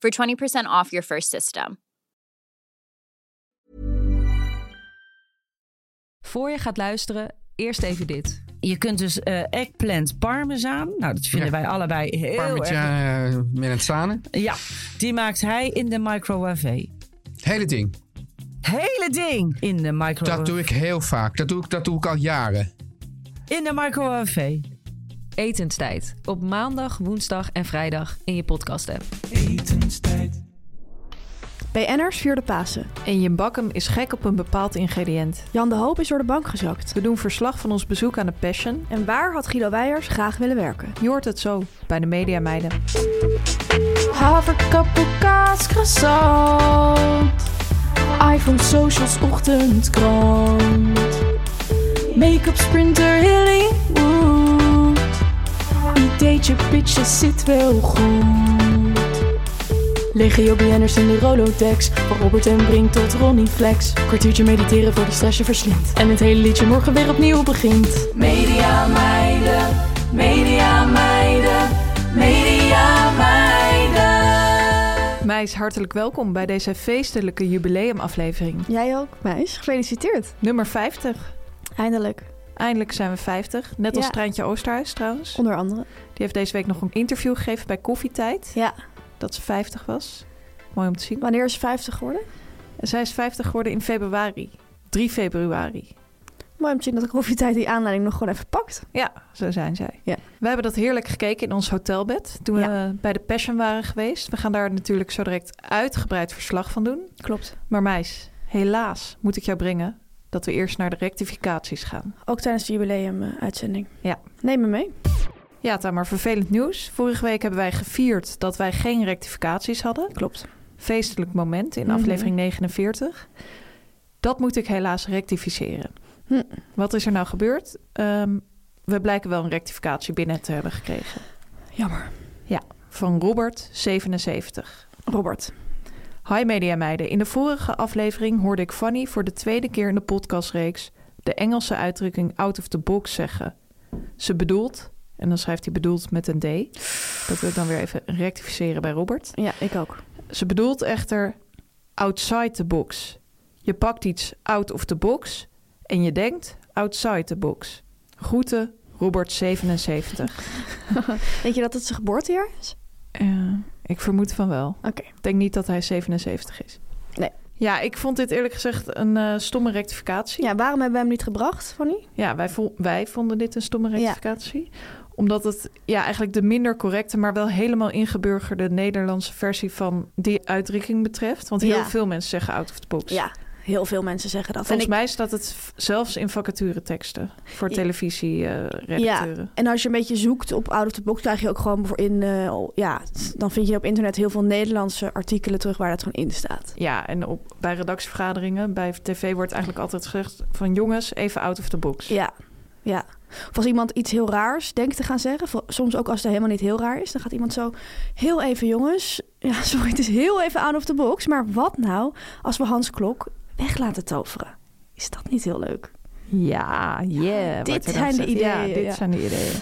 for 20% off your first system. Voor je gaat luisteren, eerst even dit. Je kunt dus eh eggplant parmezaan. Nou, dat vinden Ja. wij allebei heel erg. Parmigiana eh, Melanzane. Ja, die maakt hij in de microwave. Het hele ding. Hele ding in de microwave. Dat doe ik heel vaak. Dat doe ik, dat doe ik al jaren. In de microwave. Etenstijd. Op maandag, woensdag en vrijdag in je podcast app. BN'ers vierde Pasen. En Jim Bakkum is gek op een bepaald ingrediënt. Jan de Hoop is door de bank gezakt. We doen verslag van ons bezoek aan de Passion. En waar had Guido Weijers graag willen werken? Je hoort het zo bij de Media Meiden. Haverkappelkaas, croissant. iPhone, socials, ochtendkrant. Make-up, sprinter, Hollywood. Ideetje, pitje, zit wel goed. Legio BN'ers in de Rolodex. Van Robert en Brink tot Ronnie Flex. Kwartiertje mediteren voor die stress je verslindt. En het hele liedje morgen weer opnieuw begint. Media meiden, media meiden, media meiden. Meis, hartelijk welkom bij deze feestelijke jubileumaflevering. Jij ook, meis. Gefeliciteerd. Nummer 50. Eindelijk. Eindelijk zijn we 50. Net als Ja. Treintje Oosterhuis trouwens. Onder andere. Die heeft deze week nog een interview gegeven bij Koffietijd. Ja. Dat ze 50 was. Mooi om te zien. Wanneer is ze 50 geworden? En zij is 50 geworden in februari. 3 februari. Mooi om te zien dat ik koffietijd die aanleiding nog gewoon even pakt. Ja, zo zijn zij. Ja. We hebben dat heerlijk gekeken in ons hotelbed toen we bij de Passion waren geweest. We gaan daar natuurlijk zo direct uitgebreid verslag van doen. Klopt. Maar meis, helaas moet ik jou brengen dat we eerst naar de rectificaties gaan. Ook tijdens de jubileum-uitzending. Ja. Neem me mee. Ja, Tamar, vervelend nieuws. Vorige week hebben wij gevierd dat wij geen rectificaties hadden. Klopt. Feestelijk moment in Mhm. aflevering 49. Dat moet ik helaas rectificeren. Hm. Wat is er nou gebeurd? Ehm, we blijken wel een rectificatie binnen te hebben gekregen. Jammer. Van Robert, 77. Robert. Hi Media Meiden. In de vorige aflevering hoorde ik Fanny voor de tweede keer in de podcastreeks de Engelse uitdrukking out of the box zeggen. Ze bedoelt, en dan schrijft hij bedoeld met een D. Dat wil ik dan weer even rectificeren bij Robert. Ja, ik ook. Ze bedoelt echter outside the box. Je pakt iets out of the box en je denkt outside the box. Groeten, Robert 77. Denk je dat het zijn geboortejaar is? Eh, ik vermoed van wel. Oké. Ik denk niet dat hij 77 is. Nee. Ja, ik vond dit eerlijk gezegd een eh, stomme rectificatie. Ja, waarom hebben we hem niet gebracht, Fanny? Ja, wij, vo- wij vonden dit een stomme rectificatie. Omdat het ja, eigenlijk de minder correcte, maar wel helemaal ingeburgerde Nederlandse versie van die uitdrukking betreft. Want heel Ja. veel mensen zeggen out of the box. Ja, heel veel mensen zeggen dat. Volgens en, ik- mij staat het v- zelfs in vacature teksten voor Ja. televisieredacteuren. en als je een beetje zoekt op out of the box, krijg je ook gewoon voor in... eh, ja, dan vind je op internet heel veel Nederlandse artikelen terug waar dat gewoon in staat. Ja, en op, bij redactievergaderingen, bij tv wordt eigenlijk altijd gezegd van jongens, even out of the box. Ja, ja. Of als iemand iets heel raars denkt te gaan zeggen, vo- soms ook als het helemaal niet heel raar is, dan gaat iemand zo heel even, jongens, ja, sorry, het is heel even out of the box, maar wat nou als we Hans Klok weg laten toveren? Is dat niet heel leuk? Ja, yeah. wordt er dan Ah, zijn de gezegd. Ja, ideeën, dit ja. zijn de ideeën.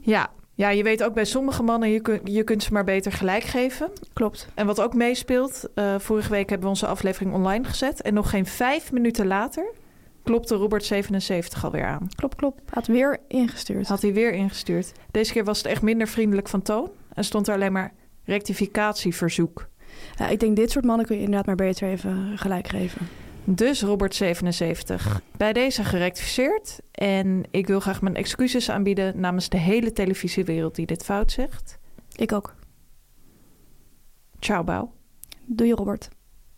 Ja, Ja, je weet ook bij sommige mannen, je, kun- je kunt ze maar beter gelijk geven. Klopt. En wat ook meespeelt, eh, vorige week hebben we onze aflevering online gezet. En nog geen vijf minuten later klopte Robert 77 alweer aan. Klopt, klopt. Had weer ingestuurd. Had hij weer ingestuurd. Deze keer was het echt minder vriendelijk van toon. En stond er alleen maar rectificatieverzoek. Ja, ik denk, dit soort mannen kun je inderdaad maar beter even gelijk geven. Dus Robert 77, bij deze gerectificeerd. En ik wil graag mijn excuses aanbieden namens de hele televisiewereld die dit fout zegt. Ik ook. Ciao, Bouw. Doe je, Robert.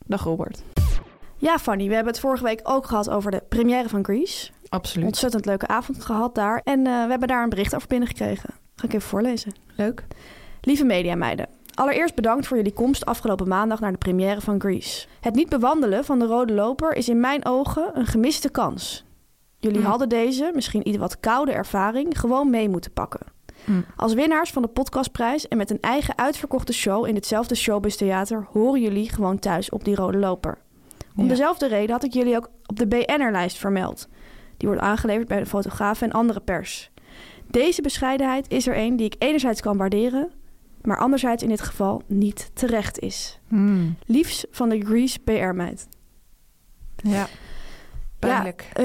Dag, Robert. Ja, Fanny, we hebben het vorige week ook gehad over de première van Grease. Absoluut. Ontzettend leuke avond gehad daar. En eh, we hebben daar een bericht over binnengekregen. Ga ik even voorlezen. Leuk. Lieve mediameiden. Allereerst bedankt voor jullie komst afgelopen maandag naar de première van Grease. Het niet bewandelen van de rode loper is in mijn ogen een gemiste kans. Jullie hadden deze, misschien iets wat koude ervaring, gewoon mee moeten pakken. Als winnaars van de podcastprijs en met een eigen uitverkochte show in hetzelfde showbiztheater horen jullie gewoon thuis op die rode loper. Om Ja. dezelfde reden had ik jullie ook op de BN'er-lijst vermeld. Die wordt aangeleverd bij de fotografen en andere pers. Deze bescheidenheid is er een die ik enerzijds kan waarderen, maar anderzijds in dit geval niet terecht is. mm. Liefst van de Grease PR-meid. Ja. Pijnlijk. Ja,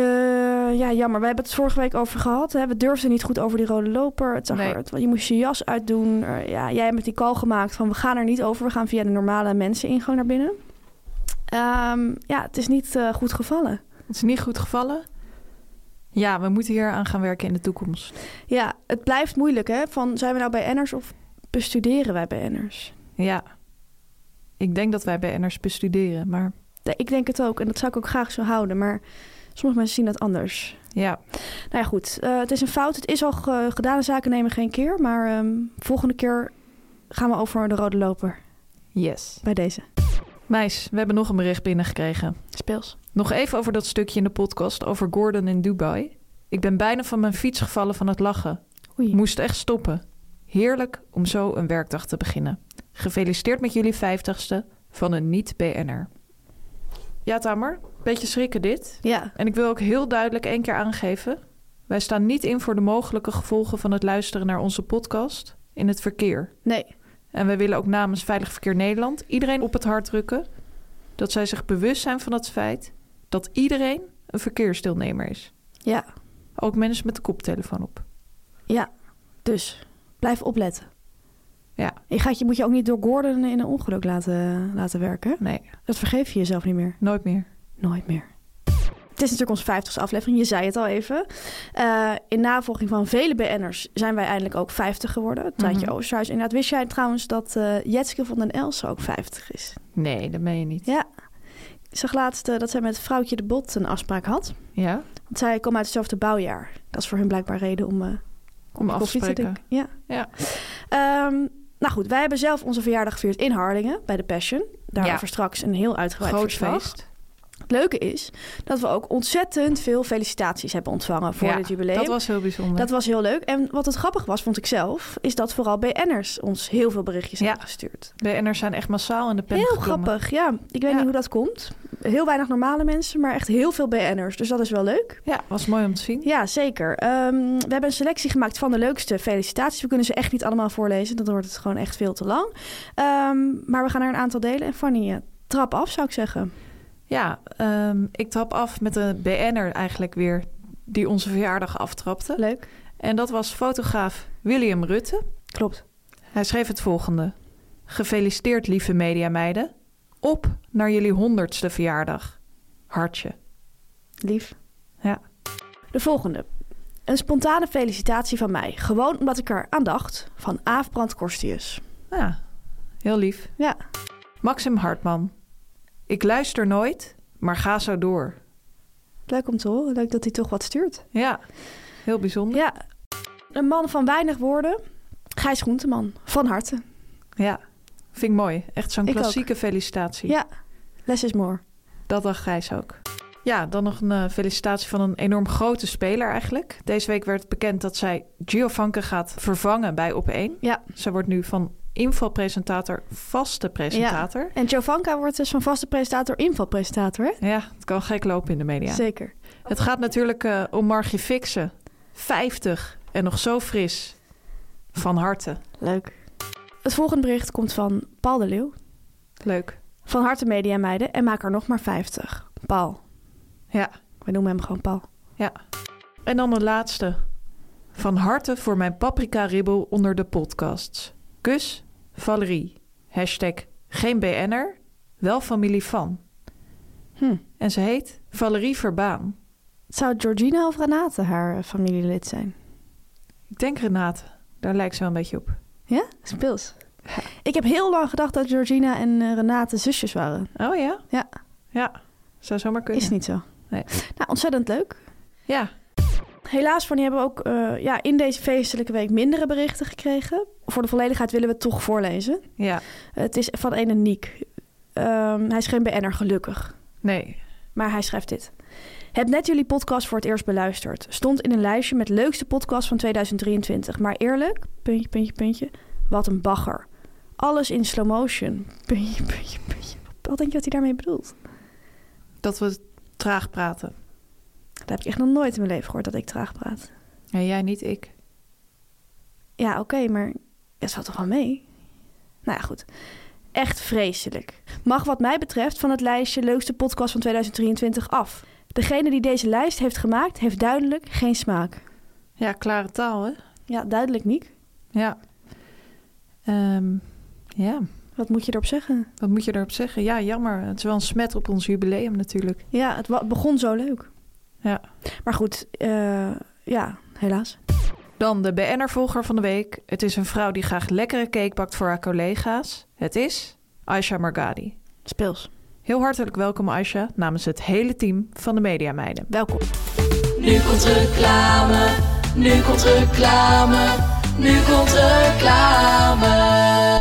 eh, ja, jammer. We hebben het vorige week over gehad. Hè? We durfden niet goed over die rode loper. Het zag Nee. er- het- je moest je jas uitdoen. Er- ja, jij hebt met die call gemaakt van we gaan er niet over. We gaan via de normale menseningang naar binnen. Ehm, ja, het is niet eh, goed gevallen. Het is niet goed gevallen. Ja, we moeten hier aan gaan werken in de toekomst. Ja, het blijft moeilijk, hè? Van zijn we nou bij Enners of bestuderen wij bij Enners? Ja. Ik denk dat wij BN'ers bestuderen, maar De- Ik denk het ook en dat zou ik ook graag zo houden, maar sommige mensen zien dat anders. ja. Nou ja, goed. eh, het is een fout. Het is al ge- gedaan. Zaken nemen geen keer, maar ehm, volgende keer gaan we over de rode loper Yes. bij deze. Meis, we hebben nog een bericht binnengekregen. Speels. Nog even over dat stukje in de podcast over Gordon in Dubai. Ik ben bijna van mijn fiets gevallen van het lachen. Oei. Ik moest echt stoppen. Heerlijk om zo een werkdag te beginnen. Gefeliciteerd met jullie vijftigste van een niet-BN'er. Ja, Tamer, beetje schrikken dit. Ja, En ik wil ook heel duidelijk één keer aangeven: wij staan niet in voor de mogelijke gevolgen van het luisteren naar onze podcast in het verkeer. nee. En wij willen ook namens Veilig Verkeer Nederland iedereen op het hart drukken dat zij zich bewust zijn van het feit dat iedereen een verkeersdeelnemer is. Ja, Ook mensen met de koptelefoon op. ja. Dus blijf opletten. Ja. Je, gaat, je moet je ook niet door Gordon in een ongeluk laten, laten werken. hè? Nee, Dat vergeef je jezelf niet meer. nooit meer. Nooit meer. Het is natuurlijk onze vijftigste aflevering, je zei het al even. Eh, in navolging van vele BN'ers zijn wij eindelijk ook 50 geworden. Het Traantje Mhm. Oosterhuis. Inderdaad, wist jij trouwens dat eh Jetske van den Elsen ook 50 is? Nee, dat meen je niet. Ja. Ik zag laatst eh, dat zij met vrouwtje de Bot een afspraak had. Ja? Want zij komen uit hetzelfde bouwjaar. Dat is voor hun blijkbaar reden om eh, Om af te koffie te spreken. drinken. Ja. Ja. Ehm, nou goed, wij hebben zelf onze verjaardag gevierd in Harlingen bij de Passion. Daarover Ja. straks een heel uitgebreid Groot verslag. feest. Het leuke is dat we ook ontzettend veel felicitaties hebben ontvangen voor Ja, dit jubileum. Dat was heel bijzonder. Dat was heel leuk. En wat het grappig was, vond ik zelf, is dat vooral BN'ers ons heel veel berichtjes Ja. hebben gestuurd. BN'ers zijn echt massaal in de pen Heel geklommen. grappig, ja. Ik weet Ja. niet hoe dat komt. Heel weinig normale mensen, maar echt heel veel BN'ers. Dus dat is wel leuk. Ja, was mooi om te zien. Ja, zeker. Ehm, we hebben een selectie gemaakt van de leukste felicitaties. We kunnen ze echt niet allemaal voorlezen. Dan wordt het gewoon echt veel te lang. Ehm, maar we gaan er een aantal delen. En Fanny, eh, trap af zou ik zeggen. Ja, ehm, ik trap af met een BN'er eigenlijk weer die onze verjaardag aftrapte. Leuk. En dat was fotograaf William Rutte. Klopt. Hij schreef het volgende. Gefeliciteerd lieve mediameiden. Op naar jullie honderdste verjaardag. Hartje. Lief. Ja. De volgende. Een spontane felicitatie van mij. Gewoon omdat ik er aan dacht. Van Aaf Brand Korstius. Ja, heel lief. Ja, Maxim Hartman. Ik luister nooit, maar ga zo door. leuk om te horen. Leuk dat hij toch wat stuurt. Ja, heel bijzonder. Ja. Een man van weinig woorden. Gijs Groenteman. Van harte. Ja, vind ik mooi. Echt zo'n Ik klassieke felicitatie. Ja. Less is more. Dat dacht Gijs ook. Ja, dan nog een eh, felicitatie van een enorm grote speler eigenlijk. Deze week werd bekend dat zij Giovanke gaat vervangen bij Op1. Ja. Zij wordt nu van invalpresentator vaste presentator. En Jovanka wordt dus van vaste presentator invalpresentator, hè? Ja, het kan gek lopen in de media. Zeker. Het gaat natuurlijk eh, om Margie Fixen. 50 en nog zo fris. Van harte. Leuk. Het volgende bericht komt van Paul de Leeuw. Leuk. Van harte media meiden en maak er nog maar 50. Paul. Ja. We noemen hem gewoon Paul. En dan de laatste. Van harte voor mijn paprika-ribbel onder de podcasts. Kus, Valerie. Hashtag geen BN'er, wel familie van. Hm. En ze heet Valerie Verbaan. Zou Georgina of Renate haar eh, familielid zijn? Ik denk Renate, daar lijkt ze wel een beetje op. Ja? Speels. Ik heb heel lang gedacht dat Georgina en eh, Renate zusjes waren. Oh ja? Ja. Ja, zou zomaar kunnen. Is niet zo. Nee. Nou, ontzettend leuk. Ja, Helaas, van die hebben we ook eh, ja, in deze feestelijke week mindere berichten gekregen. Voor de volledigheid willen we het toch voorlezen. ja. Het is van ene Niek. Ehm, hij is geen BN'er, gelukkig. Nee. Maar hij schrijft dit. Heb net jullie podcast voor het eerst beluisterd. Stond in een lijstje met leukste podcast van 2023. Maar eerlijk, puntje, puntje, puntje. Wat een bagger. Alles in slow motion. Puntje, puntje, puntje. Wat denk je dat hij daarmee bedoelt? Dat we traag praten. Dat heb ik echt nog nooit in mijn leven gehoord dat ik traag praat. En jij niet, ik. Ja, oké, maar dat valt toch wel mee? Nou ja, goed. Echt vreselijk. Mag wat mij betreft van het lijstje leukste podcast van 2023 af. Degene die deze lijst heeft gemaakt, heeft duidelijk geen smaak. Ja, klare taal, hè? Ja, duidelijk niet. Ja. Ehm, ja, Wat moet je erop zeggen? wat moet je daarop zeggen? Ja, jammer. Het is wel een smet op ons jubileum natuurlijk. Ja, het wa- begon zo leuk. Ja. Maar goed, eh, ja, helaas. Dan de BN'er-volger van de week. Het is een vrouw die graag lekkere cake bakt voor haar collega's. Het is Aisha Margadi. Speels. Heel hartelijk welkom Aisha namens het hele team van de Media Meiden. Welkom. Nu komt reclame, nu komt reclame, nu komt reclame.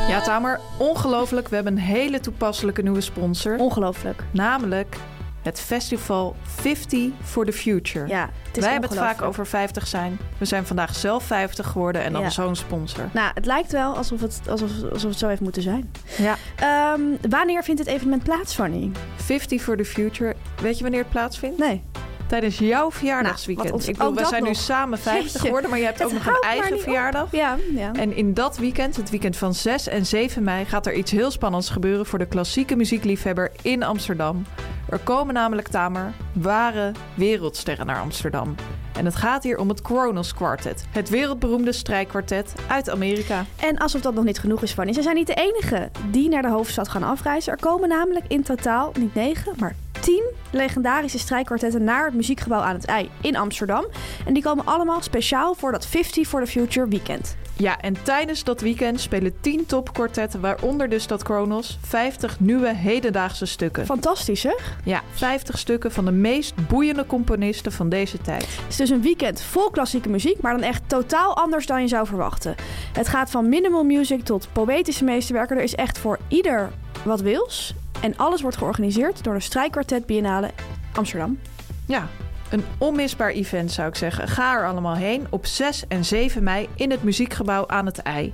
Ja Tamer, ongelooflijk. We hebben een hele toepasselijke nieuwe sponsor. Ongelooflijk. Namelijk het festival 50 for the Future. Ja, het is Wij hebben het vaak ongelooflijk. over 50 zijn. We zijn vandaag zelf 50 geworden en dan Ja. zo'n sponsor. Nou, het lijkt wel alsof het, alsof, alsof het zo heeft moeten zijn. Ja. Ehm, wanneer vindt het evenement plaats, Fanny? 50 for the Future. Weet je wanneer het plaatsvindt? Nee. Tijdens jouw Nou, verjaardagsweekend. wat ons- ik bedoel, ook wij dat zijn nu nog. samen 50 Jeetje. geworden, maar je hebt Het ook nog een houdt maar niet eigen op. verjaardag. Ja, ja. En in dat weekend, het weekend van 6 en 7 mei, gaat er iets heel spannends gebeuren voor de klassieke muziekliefhebber in Amsterdam. Er komen namelijk Tamer ware wereldsterren naar Amsterdam. En het gaat hier om het Kronos Quartet, het wereldberoemde strijkkwartet uit Amerika. En alsof dat nog niet genoeg is, Fanny. Ze zijn niet de enige die naar de hoofdstad gaan afreizen. Er komen namelijk in totaal niet negen, maar tien legendarische strijkkwartetten naar het muziekgebouw aan het IJ in Amsterdam. En die komen allemaal speciaal voor dat 50 for the Future weekend. Ja, en tijdens dat weekend spelen 10 topkwartetten, waaronder dus dat Kronos, 50 nieuwe hedendaagse stukken. Fantastisch, hè? Ja, 50 stukken van de meest boeiende componisten van deze tijd. Het is dus een weekend vol klassieke muziek, maar dan echt totaal anders dan je zou verwachten. Het gaat van minimal music tot poëtische meesterwerken. Er is echt voor ieder wat wils. En alles wordt georganiseerd door de Strijkkwartet Biennale Amsterdam. Ja, een onmisbaar event zou ik zeggen. Ga er allemaal heen op 6 en 7 mei in het muziekgebouw aan het IJ.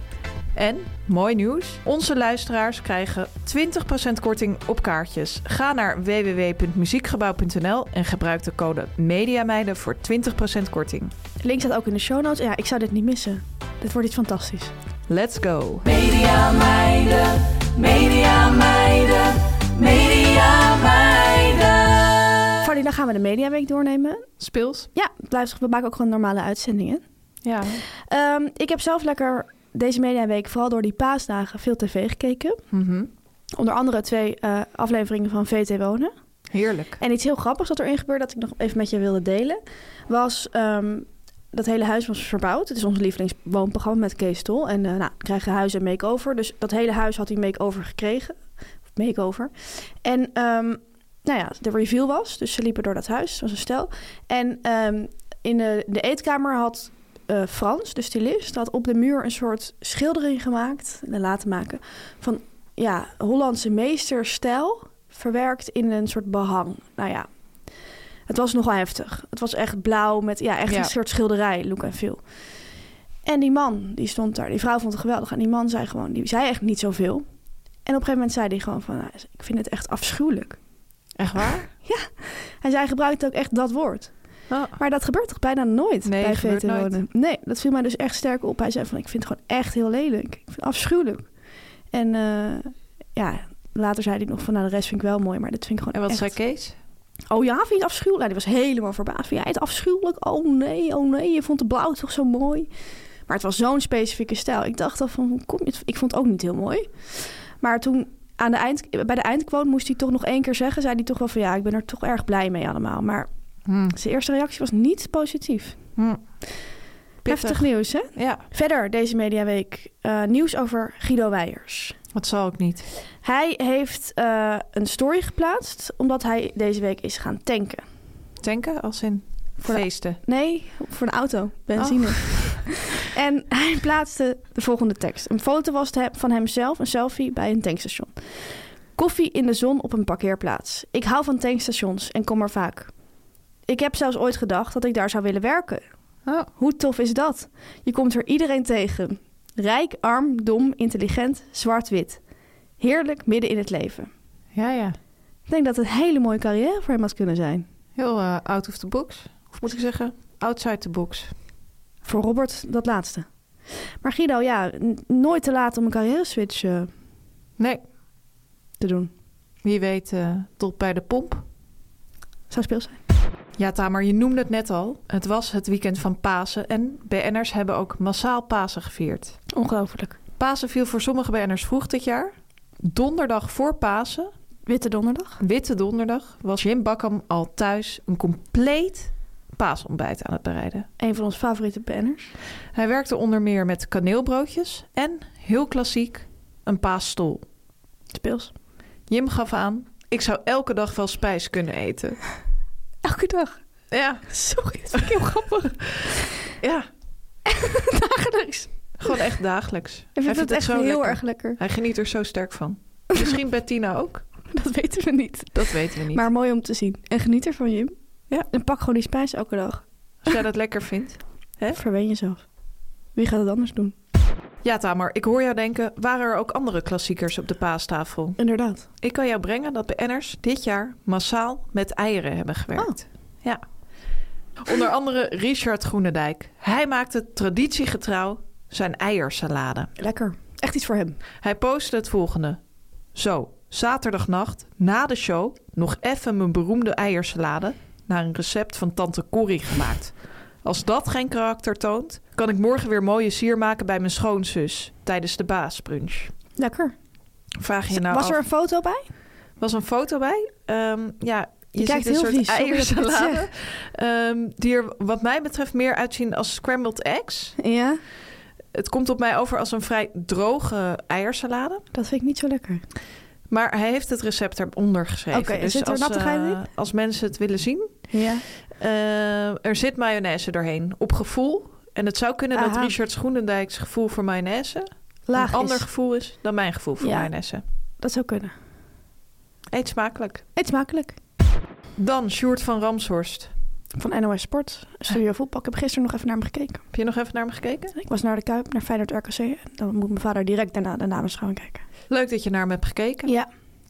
En, mooi nieuws, onze luisteraars krijgen 20% korting op kaartjes. Ga naar www.muziekgebouw.nl en gebruik de code MEDIAMEIDEN voor 20% korting. Link staat ook in de show notes. Ja, ik zou dit niet missen. Dit wordt iets fantastisch. Let's go! Media meiden, media meiden, media meiden. Fanny, dan gaan we de Mediaweek doornemen. Speels? Ja, het blijft, we maken ook gewoon normale uitzendingen. Ja. Ehm, ik heb zelf lekker deze Mediaweek, vooral door die paasdagen, veel tv gekeken. Mhm. Onder andere twee eh, afleveringen van VT Wonen. Heerlijk. En iets heel grappigs dat erin gebeurde, dat ik nog even met je wilde delen, was ehm, dat hele huis was verbouwd. Het is ons lievelingswoonprogramma met Kees Tol. En eh nou, we krijgen huis en make-over. Dus dat hele huis had hij make-over gekregen. Of make-over. En ehm, nou ja, de reveal was. Dus ze liepen door dat huis, zoals een stel. En ehm, in de, de eetkamer had eh, Frans, de stylist, had op de muur een soort schildering gemaakt, en laten maken, van ja, Hollandse meesterstijl verwerkt in een soort behang. Nou ja, het was nogal heftig. Het was echt blauw met ja, echt Ja. een soort schilderij, look en feel. En die man, die stond daar, die vrouw vond het geweldig. En die man zei gewoon, die zei echt niet zoveel. En op een gegeven moment zei hij gewoon van, nou, ik vind het echt afschuwelijk. Echt waar? En zij gebruikte ook echt dat woord. Oh. Maar dat gebeurt toch bijna nooit Nee, bij gebeurt nooit. veteranen? Nee, dat viel mij dus echt sterk op. Hij zei van, ik vind het gewoon echt heel lelijk. Ik vind het afschuwelijk. En eh, ja, later zei hij nog van, nou de rest vind ik wel mooi, maar dit vind ik gewoon En wat echt... zei Kees? Oh ja, vind je het afschuwelijk? Nou, die was helemaal verbaasd. Vind jij het afschuwelijk? Oh nee, oh nee, je vond de blauw toch zo mooi? Maar het was zo'n specifieke stijl. Ik dacht al van, hoe kom je het? Ik vond het ook niet heel mooi. Maar toen aan de eind, bij de eindquote moest hij toch nog één keer zeggen... zei hij toch wel van, ja, ik ben er toch erg blij mee allemaal. Maar Hm. zijn eerste reactie was niet positief. Hm. Heftig nieuws, hè? Ja, Verder deze mediaweek eh, nieuws over Guido Weijers. dat zal ik niet. Hij heeft eh, een story geplaatst omdat hij deze week is gaan tanken. Tanken als in Voor de- feesten. Nee, voor een auto. Benzine. En hij plaatste de volgende tekst. Een foto was te- van hemzelf, een selfie bij een tankstation. Koffie in de zon op een parkeerplaats. Ik hou van tankstations en kom er vaak. Ik heb zelfs ooit gedacht dat ik daar zou willen werken. Oh. Hoe tof is dat? Je komt er iedereen tegen. Rijk, arm, dom, intelligent, zwart, wit. Heerlijk midden in het leven. Ja, ja. Ik denk dat het een hele mooie carrière voor hem had kunnen zijn. Heel eh, out of the box. Of moet ik zeggen, outside the box. Voor Robert dat laatste. Maar Guido, ja, n- nooit te laat om een carrière switch eh, Nee, te doen. wie weet eh, tot bij de pomp. Zou speel zijn. Ja, Tamer, je noemde het net al. Het was het weekend van Pasen en BN'ers hebben ook massaal Pasen gevierd. Ongelooflijk. Pasen viel voor sommige BN'ers vroeg dit jaar. Donderdag voor Pasen, Witte donderdag. Witte Donderdag, was Jim Bakkam al thuis een compleet paasontbijt aan het bereiden. Een van onze favoriete banners. Hij werkte onder meer met kaneelbroodjes en, heel klassiek, een paasstol. Speels. Jim gaf aan, ik zou elke dag wel spijs kunnen eten. Elke dag. Ja, Sorry, dat vind ik heel grappig. ja, Dagelijks. gewoon echt dagelijks. Hij Ik vind vindt het het echt zo heel lekker. erg lekker. Hij geniet er zo sterk van. Misschien Bettina ook, Dat weten we niet. dat weten we niet. Maar mooi om te zien. En geniet ervan, Jim. Ja. En pak gewoon die spijs elke dag. Als jij dat lekker vindt. Hè? Verwen jezelf. Wie gaat het anders doen? Ja, Tamar, ik hoor jou denken, waren er ook andere klassiekers op de paastafel? Inderdaad. Ik kan jou brengen dat BN'ers dit jaar massaal met eieren hebben gewerkt. Oh. Ja. Onder andere Richard Groenendijk. Hij maakte traditiegetrouw zijn eiersalade. Lekker. Echt iets voor hem. Hij postte het volgende. Zo, zaterdagnacht, na de show, nog even mijn beroemde eiersalade... naar een recept van tante Corrie gemaakt. Als dat geen karakter toont, kan ik morgen weer mooie sier maken bij mijn schoonzus... tijdens de baasbrunch. Lekker. Vraag je nou Was af- er een foto bij? was een foto bij. Ehm, ja, je, Je kijkt ziet een heel soort vies, sorry dat ik het eiersalade. ehm, die er wat mij betreft meer uitzien als scrambled eggs. Ja. Het komt op mij over als een vrij droge eiersalade. Dat vind ik niet zo lekker. Maar hij heeft het recept eronder geschreven. Oké, en zit er als, nattigheid eh, in? als mensen het willen zien. Ja. eh, er zit mayonaise doorheen. Op gevoel. En het zou kunnen dat Aha. Richard Schoenendijk's gevoel voor mayonaise... Laag een ander is. gevoel is dan mijn gevoel voor Ja. mayonaise. Dat zou kunnen. Eet smakelijk. Eet smakelijk. Dan Sjoerd van Ramshorst. Van NOS Sport. Studio Voetbal. Ik heb gisteren nog even naar hem gekeken. Heb je nog even naar hem gekeken? Ik was naar de Kuip, naar Feyenoord RKC. En Dan moet mijn vader direct daarna de namens gaan kijken. Leuk dat je naar hem hebt gekeken. Ja.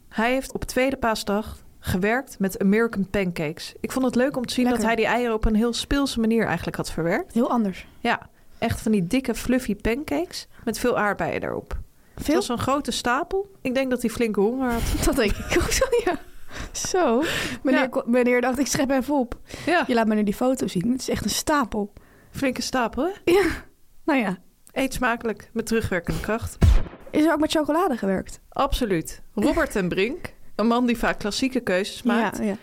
Hij heeft op tweede paasdag gewerkt met American Pancakes. Ik vond het leuk om te zien Lekker. dat hij die eieren op een heel speelse manier eigenlijk had verwerkt. Heel anders. Ja, echt van die dikke fluffy pancakes met veel aardbeien erop. Het Veel? was een grote stapel. Ik denk dat hij flinke honger had. Dat denk ik ook zo, ja. Zo. Meneer, Ja. ko- meneer dacht, ik schep even op. Ja, Je laat me nu die foto zien. Het is echt een stapel. flinke stapel hè? Nou ja. Eet smakelijk met terugwerkende kracht. Is er ook met chocolade gewerkt? Absoluut. Robert ten Brink, een man die vaak klassieke keuzes maakt, Ja, ja.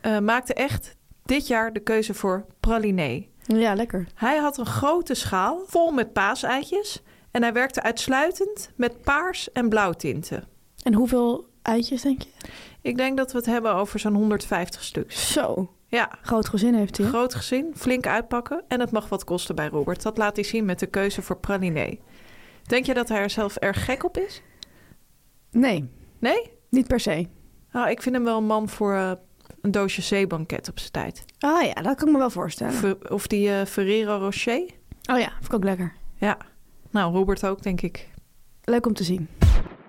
eh, maakte echt dit jaar de keuze voor praliné. ja, lekker. Hij had een grote schaal vol met paaseitjes en hij werkte uitsluitend met paars en blauw tinten. En hoeveel eitjes, denk je? Ik denk dat we het hebben over zo'n 150 stuks. Zo. Ja, Groot gezin heeft hij. hè? groot gezin, flink uitpakken en het mag wat kosten bij Robert. Dat laat hij zien met de keuze voor praliné. Denk je dat hij er zelf erg gek op is? Nee, Nee? niet per se. Nou, ik vind hem wel een man voor eh, een doosje zeebanket op zijn tijd. Ah ja, dat kan ik me wel voorstellen. Ver- of die eh, Ferrero Rocher? Oh ja, vind ik ook lekker. Ja. Nou, Robert ook, denk ik. Leuk om te zien.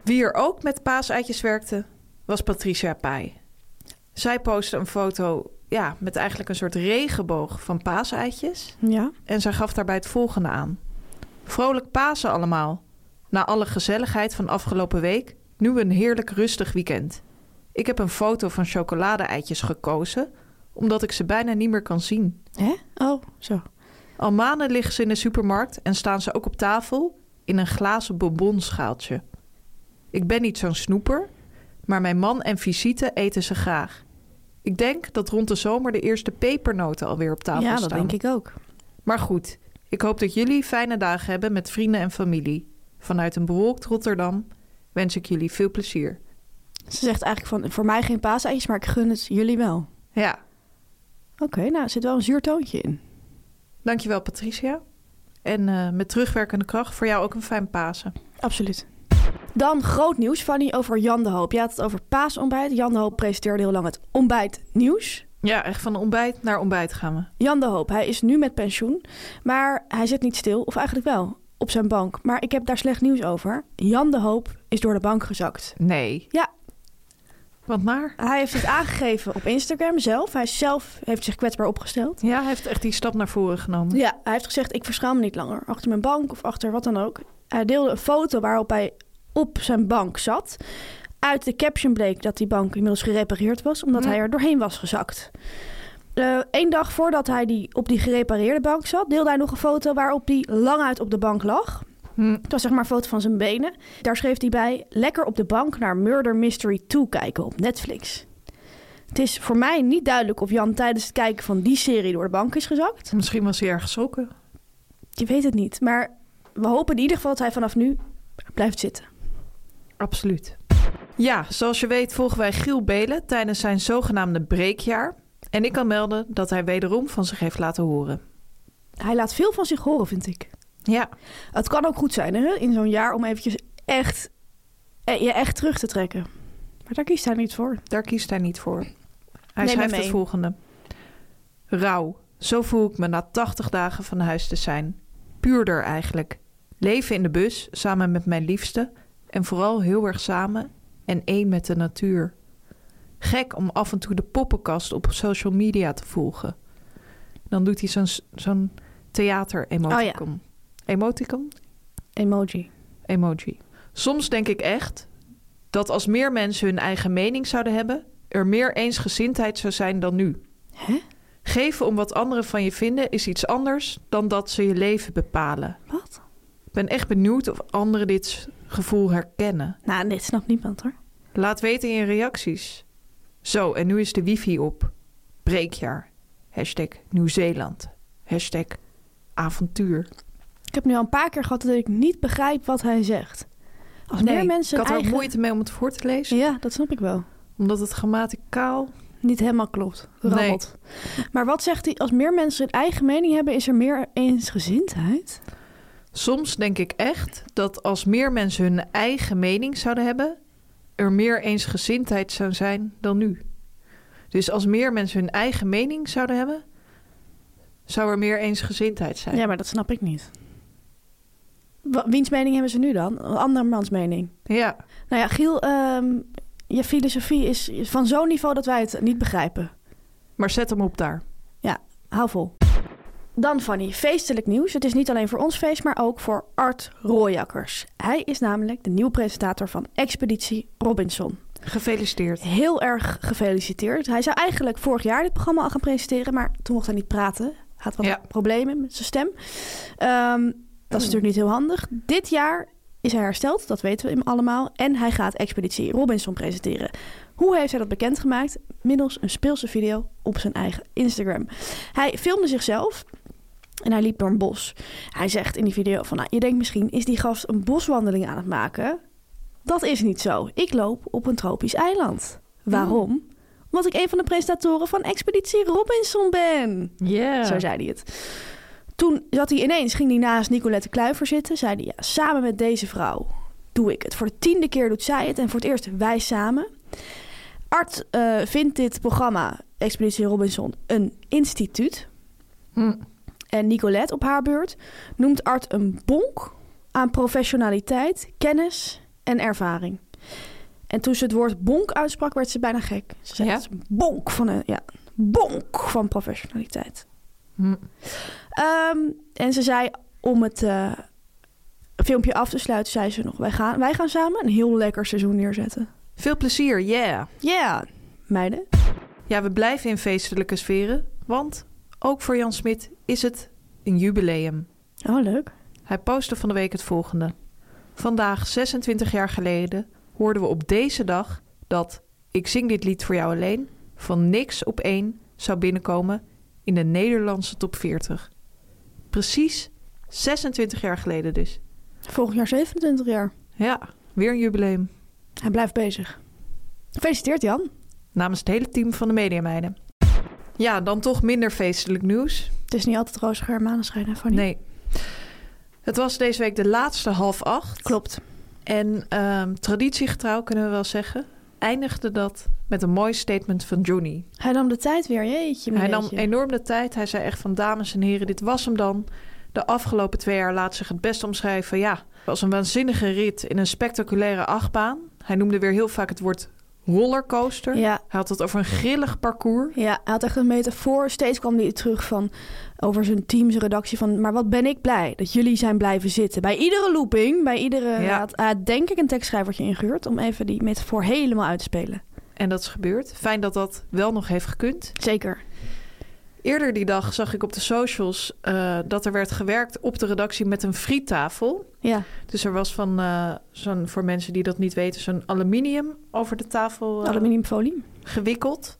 Wie er ook met paaseitjes werkte, was Patricia Pai. Zij postte een foto ja, met eigenlijk een soort regenboog van paaseitjes. Ja. En zij gaf daarbij het volgende aan. Vrolijk Pasen allemaal. Na alle gezelligheid van afgelopen week, nu een heerlijk rustig weekend. Ik heb een foto van chocolade-eitjes gekozen, omdat ik ze bijna niet meer kan zien. Hè? Oh, zo. Al maanden liggen ze in de supermarkt en staan ze ook op tafel in een glazen bonbonschaaltje. Ik ben niet zo'n snoeper, maar mijn man en visite eten ze graag. Ik denk dat rond de zomer de eerste pepernoten alweer op tafel ja, staan. dat denk ik ook. Maar goed, ik hoop dat jullie fijne dagen hebben met vrienden en familie. Vanuit een bewolkt Rotterdam wens ik jullie veel plezier. Ze zegt eigenlijk van, voor mij geen paaseitjes, maar ik gun het jullie wel. Ja, Oké, nou, er zit wel een zuur toontje in. dankjewel Patricia. En eh, met terugwerkende kracht voor jou ook een fijn Pasen. Absoluut. Dan groot nieuws, Fanny, over Jan de Hoop. Je had het over paasontbijt. Jan de Hoop presenteerde heel lang het ontbijtnieuws. Ja, echt van ontbijt naar ontbijt gaan we. Jan de Hoop, hij is nu met pensioen, maar hij zit niet stil, of eigenlijk wel, op zijn bank. Maar ik heb daar slecht nieuws over. Jan de Hoop is door de bank gezakt. Nee. Ja. Want maar? Hij heeft het aangegeven op Instagram zelf. Hij zelf heeft zich kwetsbaar opgesteld. Ja, hij heeft echt die stap naar voren genomen. Ja, hij heeft gezegd: Ik verschaam me niet langer. Achter mijn bank of achter wat dan ook. Hij deelde een foto waarop hij op zijn bank zat. Uit de caption bleek dat die bank inmiddels gerepareerd was, omdat hij er doorheen was gezakt. Eén dag voordat hij die, op die gerepareerde bank zat, deelde hij nog een foto waarop hij languit op de bank lag. Hm. Het was zeg maar een foto van zijn benen. Daar schreef hij bij: Lekker op de bank naar Murder Mystery 2 kijken op Netflix. Het is voor mij niet duidelijk of Jan tijdens het kijken van die serie door de bank is gezakt. Misschien was hij eh. erg geschrokken. Je weet het niet, maar we hopen in ieder geval dat hij vanaf nu blijft zitten. Absoluut. Ja, zoals je weet volgen wij Giel Belen tijdens zijn zogenaamde breekjaar. En ik kan melden dat hij wederom van zich heeft laten horen. Hij laat veel van zich horen, vind ik. Ja, Het kan ook goed zijn hè, in zo'n jaar om eventjes echt, eh, je echt terug te trekken. Maar daar kiest hij niet voor. daar kiest hij niet voor. Hij Neem me schrijft mee. het volgende. Rauw. Zo voel ik me na 80 dagen van huis te zijn. Puurder eigenlijk. Leven in de bus, samen met mijn liefste. En vooral heel erg samen en één met de natuur. Gek om af en toe de poppenkast op social media te volgen. Dan doet hij zo'n zo'n theater-emoticon. Emoticon? Emoji. emoji. Soms denk ik echt dat als meer mensen hun eigen mening zouden hebben, er meer eensgezindheid zou zijn dan nu. Hè? Geven om wat anderen van je vinden is iets anders dan dat ze je leven bepalen. Wat? Ik ben echt benieuwd of anderen dit gevoel herkennen. Nou, dit snapt niemand hoor. Laat weten in je reacties. Zo, en nu is de wifi op. Breekjaar. Hashtag Nieuw-Zeeland. Hashtag avontuur. Ik heb nu al een paar keer gehad dat ik niet begrijp wat hij zegt. Als meer mensen ik had er ook eigen- moeite mee om het voor te lezen. Ja, dat snap ik wel. Omdat het grammaticaal Niet helemaal klopt. Nee. Rammelt. Maar wat zegt hij? Als meer mensen hun eigen mening hebben, is er meer eensgezindheid? Soms denk ik echt dat als meer mensen hun eigen mening zouden hebben, er meer eensgezindheid zou zijn dan nu. Dus als meer mensen hun eigen mening zouden hebben, zou er meer eensgezindheid zijn. Ja, maar dat snap ik niet. Wa- wiens mening hebben ze nu dan? Een andermans mening. Ja. Nou ja, Giel, ehm, je filosofie is van zo'n niveau dat wij het niet begrijpen. maar zet hem op daar. Hou vol. Dan Fanny, feestelijk nieuws. Het is niet alleen voor ons feest, maar ook voor Art Rooijakkers. Hij is namelijk de nieuwe presentator van Expeditie Robinson. Gefeliciteerd. Heel erg gefeliciteerd. Hij zou eigenlijk vorig jaar dit programma al gaan presenteren, maar toen mocht hij niet praten. Had wat Ja. problemen met zijn stem. Ehm, dat is natuurlijk niet heel handig. Dit jaar is hij hersteld, dat weten we hem allemaal. En hij gaat Expeditie Robinson presenteren. Hoe heeft hij dat bekendgemaakt? Middels een speelse video op zijn eigen Instagram. Hij filmde zichzelf en hij liep door een bos. Hij zegt in die video van, nou, je denkt misschien is die gast een boswandeling aan het maken. Dat is niet zo. Ik loop op een tropisch eiland. Waarom? Omdat ik een van de presentatoren van Expeditie Robinson ben. Ja. Zo zei hij het. Toen zat hij ineens, ging hij naast Nicolette Kluiver zitten. Zei hij, ja, samen met deze vrouw doe ik het. Voor de tiende keer doet zij het en voor het eerst wij samen. Art eh, vindt dit programma, Expeditie Robinson, een instituut. Hm. En Nicolette op haar beurt noemt Art een bonk aan professionaliteit, kennis en ervaring. En toen ze het woord bonk uitsprak, werd ze bijna gek. Ze zei, Ja? "Het is een bonk van een... Ja, bonk van professionaliteit. Hm. Ehm, en ze zei om het eh, filmpje af te sluiten, zei ze nog, wij gaan, wij gaan samen een heel lekker seizoen neerzetten. Veel plezier, yeah! Ja, meiden. Ja, we blijven in feestelijke sferen, want ook voor Jan Smit is het een jubileum. Oh, leuk. Hij postte van de week het volgende. Vandaag, 26 jaar geleden, hoorden we op deze dag dat Ik zing dit lied voor jou alleen van niks op één zou binnenkomen in de Nederlandse top 40. Precies 26 jaar geleden dus. Volgend jaar 27 jaar. Ja, weer een jubileum. Hij blijft bezig. Gefeliciteerd Jan. Namens het hele team van de Mediameiden. Ja, dan toch minder feestelijk nieuws. Het is niet altijd roze en maneschijn, hè, Fanny? Nee. Het was deze week de laatste half acht. Klopt. En ehm, traditiegetrouw kunnen we wel zeggen. Eindigde dat met een mooi statement van Johnny. Hij nam de tijd weer, jeetje. Hij nam mineetje. enorm de tijd. Hij zei echt van dames en heren, dit was hem dan. De afgelopen twee jaar laat zich het best omschrijven. Ja, het was een waanzinnige rit in een spectaculaire achtbaan. Hij noemde weer heel vaak het woord rollercoaster. Ja, Hij had het over een grillig parcours. Ja, hij had echt een metafoor. Steeds kwam hij terug van over zijn team, zijn redactie van... maar wat ben ik blij dat jullie zijn blijven zitten. Bij iedere looping, bij iedere... Hij had, hij had denk ik een tekstschrijvertje ingehuurd... om even die metafoor helemaal uit te spelen. En dat is gebeurd. Fijn dat dat wel nog heeft gekund. Zeker. Eerder die dag zag ik op de socials eh, dat er werd gewerkt op de redactie met een friettafel. Ja, Dus er was van eh, zo'n, voor mensen die dat niet weten, zo'n aluminium over de tafel eh, aluminiumfolie. gewikkeld.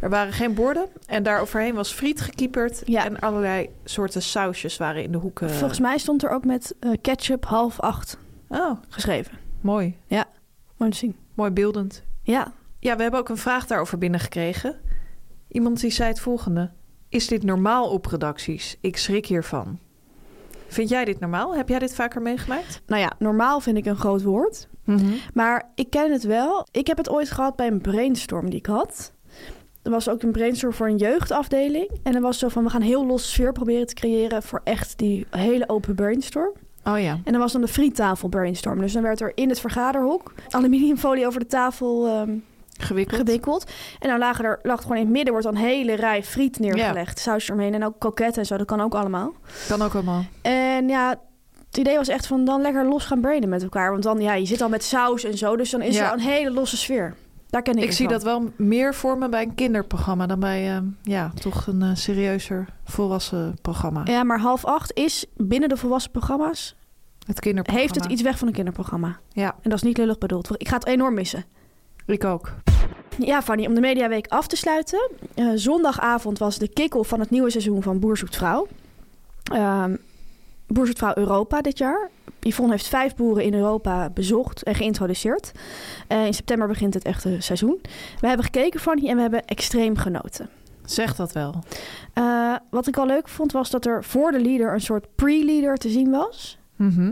Er waren geen borden en daar overheen was friet gekieperd. Ja. En allerlei soorten sausjes waren in de hoeken. Volgens mij stond er ook met eh, ketchup half acht Oh, geschreven. mooi. Moet je zien. Mooi beeldend. Ja, Ja, we hebben ook een vraag daarover binnengekregen. Iemand die zei het volgende. Is dit normaal op redacties? Ik schrik hiervan. Vind jij dit normaal? Heb jij dit vaker meegemaakt? nou ja, normaal vind ik een groot woord... Maar ik ken het wel. Ik heb het ooit gehad bij een brainstorm die ik had. Er was ook een brainstorm voor een jeugdafdeling. En er was zo van, we gaan heel los sfeer proberen te creëren... voor echt die hele open brainstorm. Oh ja. En dan was dan de friettafel brainstorm. Dus dan werd er in het vergaderhok aluminiumfolie over de tafel ehm, Gewikkeld. gewikkeld. En dan lagen er, lag gewoon in het midden wordt dan een hele rij friet neergelegd. Saus eromheen en ook kroketten en zo, dat kan ook allemaal. Kan ook allemaal. En ja, het idee was echt van dan lekker los gaan brainen met elkaar. Want dan, ja, je zit al met saus en zo. Dus dan is Ja. er een hele losse sfeer. Daar ken ik Ik het zie van. dat wel meer voor me bij een kinderprogramma dan bij eh, ja, toch een eh, serieuzer volwassen programma. Ja, maar half acht is binnen de volwassen programma's... Het kinderprogramma. heeft het iets weg van een kinderprogramma. Ja, En dat is niet lullig bedoeld. want Ik ga het enorm missen. ik ook. Ja, Fanny, om de Mediaweek af te sluiten. eh, zondagavond was de kick-off van het nieuwe seizoen van Boer Zoekt Vrouw. Ehm, Boer Zoekt Vrouw Europa dit jaar. Yvonne heeft vijf boeren in Europa bezocht en geïntroduceerd. Eh, in september begint het echte seizoen. We hebben gekeken, Fanny, en we hebben extreem genoten. Zeg dat wel. Eh, wat ik al leuk vond, was dat er voor de leader een soort pre-leader te zien was.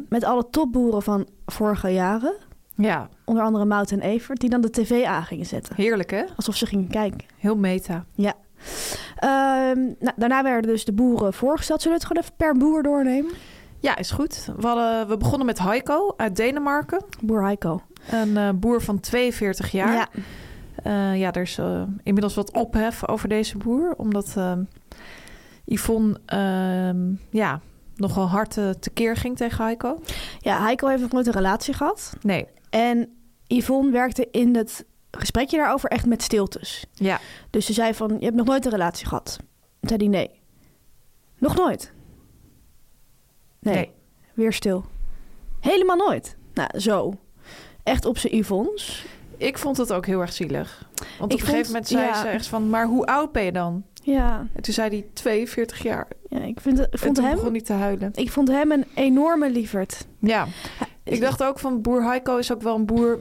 Met alle topboeren van vorige jaren. Ja, Onder andere Mout en Evert, die dan de tv aan gingen zetten. heerlijk hè? Alsof ze gingen kijken. Heel meta. Ja. Ehm, nou, daarna werden dus de boeren voorgesteld. Zullen we het gewoon even per boer doornemen? Ja, is goed. We, hadden- we begonnen met Heiko uit Denemarken. Boer Heiko. Een eh, boer van 42 jaar. Eh, ja, er is eh, inmiddels wat ophef over deze boer. Omdat ehm, Yvonne ehm, ja, nogal hard eh, tekeer ging tegen Heiko. ja, Heiko heeft nog nooit een relatie gehad. Nee. En Yvonne werkte in het gesprekje daarover echt met stiltes. Ja. Dus ze zei van, je hebt nog nooit een relatie gehad. Toen zei hij nee. Nog nooit? Nee. Nee. Weer stil. Helemaal nooit. Nou, zo. Echt op zijn Yvonne's. Ik vond het ook heel erg zielig. Want op een vond- gegeven moment zei ja. ze echt van... maar hoe oud ben je dan? Ja, En toen zei hij 42 jaar. ja ik, vind, het- ik en vond toen hem... begon hij te huilen. Ik vond hem een enorme lieverd. Ja. Ik dacht ook van boer Heiko is ook wel een boer...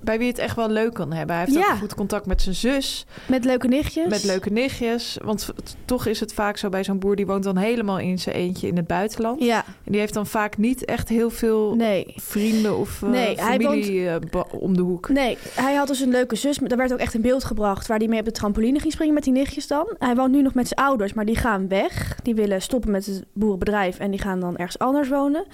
bij wie het echt wel leuk kan hebben. Hij heeft Ja. ook goed contact met zijn zus. Met leuke nichtjes. Met leuke nichtjes. Want v- t- toch is het vaak zo bij zo'n boer... die woont dan helemaal in zijn eentje in het buitenland. Ja, En die heeft dan vaak niet echt heel veel... nee. Vrienden of eh, Nee, hij familie eh, ba- om de hoek. Nee, hij had dus een leuke zus. maar Daar werd ook echt in beeld gebracht waar hij mee op de trampoline ging springen met die nichtjes dan. Hij woont nu nog met zijn ouders, maar die gaan weg. Die willen stoppen met het boerenbedrijf en die gaan dan ergens anders wonen.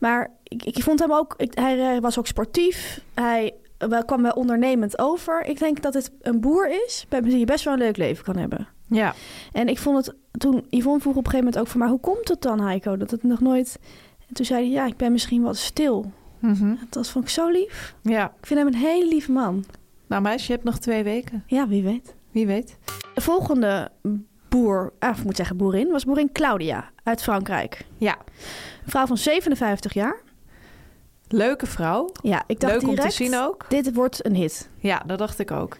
Maar ik, ik vond hem ook... Ik, hij, eh, was ook sportief. Hij eh, wel- kwam wel ondernemend over. Ik denk dat het een boer is bij wie je best wel een leuk leven kan hebben. Ja, En ik vond het toen, Yvonne vroeg op een gegeven moment ook van, maar hoe komt het dan, Heiko, dat het nog nooit... En toen zei hij, ja, ik ben misschien wat stil. Mhm. Dat vond ik zo lief. ja. Ik vind hem een hele lieve man. Nou meisje, je hebt nog twee weken. Ja, wie weet. Wie weet. De volgende boer, ah, of ik moet zeggen boerin, was boerin Claudia uit Frankrijk. Ja. Een vrouw van 57 jaar. Leuke vrouw. Ja, ik dacht Leuk om direct, te zien ook. dit wordt een hit. Ja, dat dacht ik ook.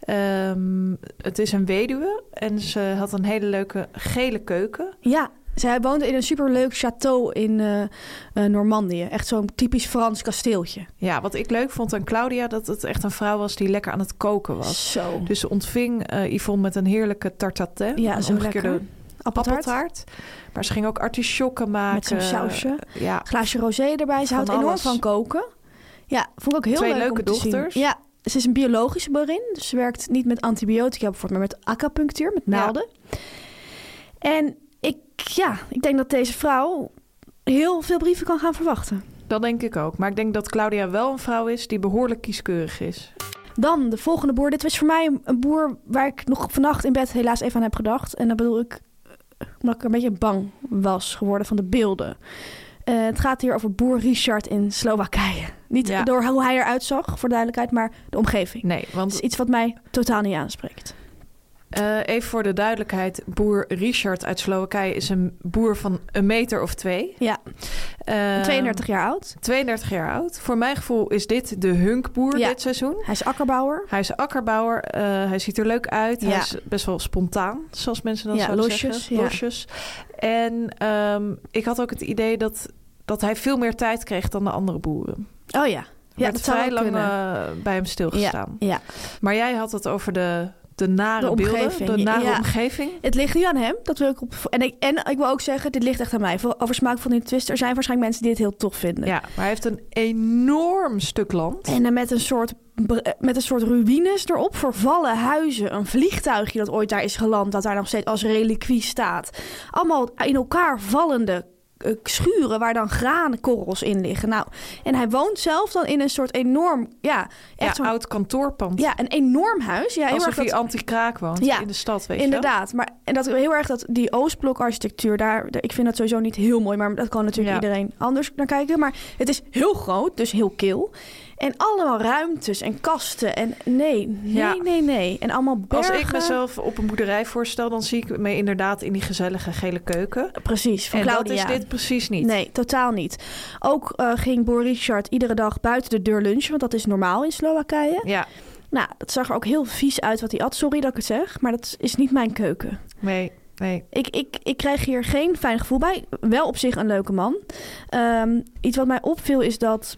Ehm, het is een weduwe en ze had een hele leuke gele keuken. Ja, zij woonde in een superleuk château in eh, eh, Normandië. Echt zo'n typisch Frans kasteeltje. Ja, wat ik leuk vond aan Claudia, dat het echt een vrouw was die lekker aan het koken was. Zo. Dus ze ontving eh, Yvonne met een heerlijke tartatin. Ja, een zo omgekeerde lekker. Appeltaart. appeltaart. Maar ze ging ook artichokken maken. Met zo'n sausje. Ja, Glaasje rosé erbij. Ze Van houdt enorm alles. van koken. Ja, vond ik ook heel Twee leuk leuke om te zien. dochters. Ja, ze is een biologische boerin. Dus ze werkt niet met antibiotica bijvoorbeeld, maar met acupunctuur, met naalden. En ik, ja, ik denk dat deze vrouw heel veel brieven kan gaan verwachten. dat denk ik ook. Maar ik denk dat Claudia wel een vrouw is die behoorlijk kieskeurig is. Dan de volgende boer. Dit was voor mij een- een boer waar ik nog vannacht in bed helaas even aan heb gedacht. En dat bedoel ik eh, omdat ik een beetje bang was geworden van de beelden. Eh, het gaat hier over boer Richard in Slowakije. Niet Ja. door hoe hij eruit zag, voor duidelijkheid, maar de omgeving. Nee, Dat is want iets wat mij totaal niet aanspreekt. eh, even voor de duidelijkheid. Boer Richard uit Slowakije is een boer van een meter of twee. Ja, Ehm, 32 jaar oud. 32 jaar oud. Voor mijn gevoel is dit de hunkboer Ja. dit seizoen. Hij is akkerbouwer. Hij is akkerbouwer, eh, hij ziet er leuk uit. Ja. Hij is best wel spontaan, zoals mensen dan Ja, zouden losjes, zeggen. ja. Losjes. En ehm, ik had ook het idee dat, dat hij veel meer tijd kreeg dan de andere boeren. Oh ja. Ja, werd dat zou vrij wel lang kunnen. eh, bij hem stilgestaan. Ja. Maar jij had het over de, de nare De omgeving, beelden, de nare ja. omgeving. Het ligt nu aan hem. Dat wil ik op... en, ik, en ik wil ook zeggen, dit ligt echt aan mij. Voor- Over smaak van die twist. Er zijn waarschijnlijk mensen die dit heel tof vinden. Ja, maar hij heeft een enorm stuk land. En dan met een, soort, br- eh, met een soort ruïnes erop, vervallen huizen, een vliegtuigje dat ooit daar is geland, dat daar nog steeds als reliquie staat. Allemaal in elkaar vallende eh, schuren waar dan graankorrels in liggen. Nou, en hij woont zelf dan in een soort enorm, ja, Ja, echt zo'n, oud kantoorpand. ja, een enorm huis. Ja, heel Alsof erg hij dat- anti-kraak woont Ja, in de stad, weet je wel. Inderdaad, maar en dat heel erg dat die Oostblok-architectuur daar, daar- ik vind dat sowieso niet heel mooi, maar dat kan natuurlijk Ja. iedereen anders naar kijken. Maar het is heel groot, dus heel kil. En allemaal ruimtes en kasten en nee, nee, Ja. nee, nee. En allemaal Als bergen. ik mezelf op een boerderij voorstel, dan zie ik me inderdaad in die gezellige gele keuken. Precies, van En dat Claudia. is dit precies niet. Nee, totaal niet. Ook eh, ging Boer Richard iedere dag buiten de deur lunchen, want dat is normaal in Slowakije. Ja, Nou, dat zag er ook heel vies uit wat hij at. Sorry dat ik het zeg, maar dat is niet mijn keuken. nee, nee. Ik, ik, ik krijg hier geen fijn gevoel bij. Wel op zich een leuke man. Ehm, iets wat mij opviel is dat...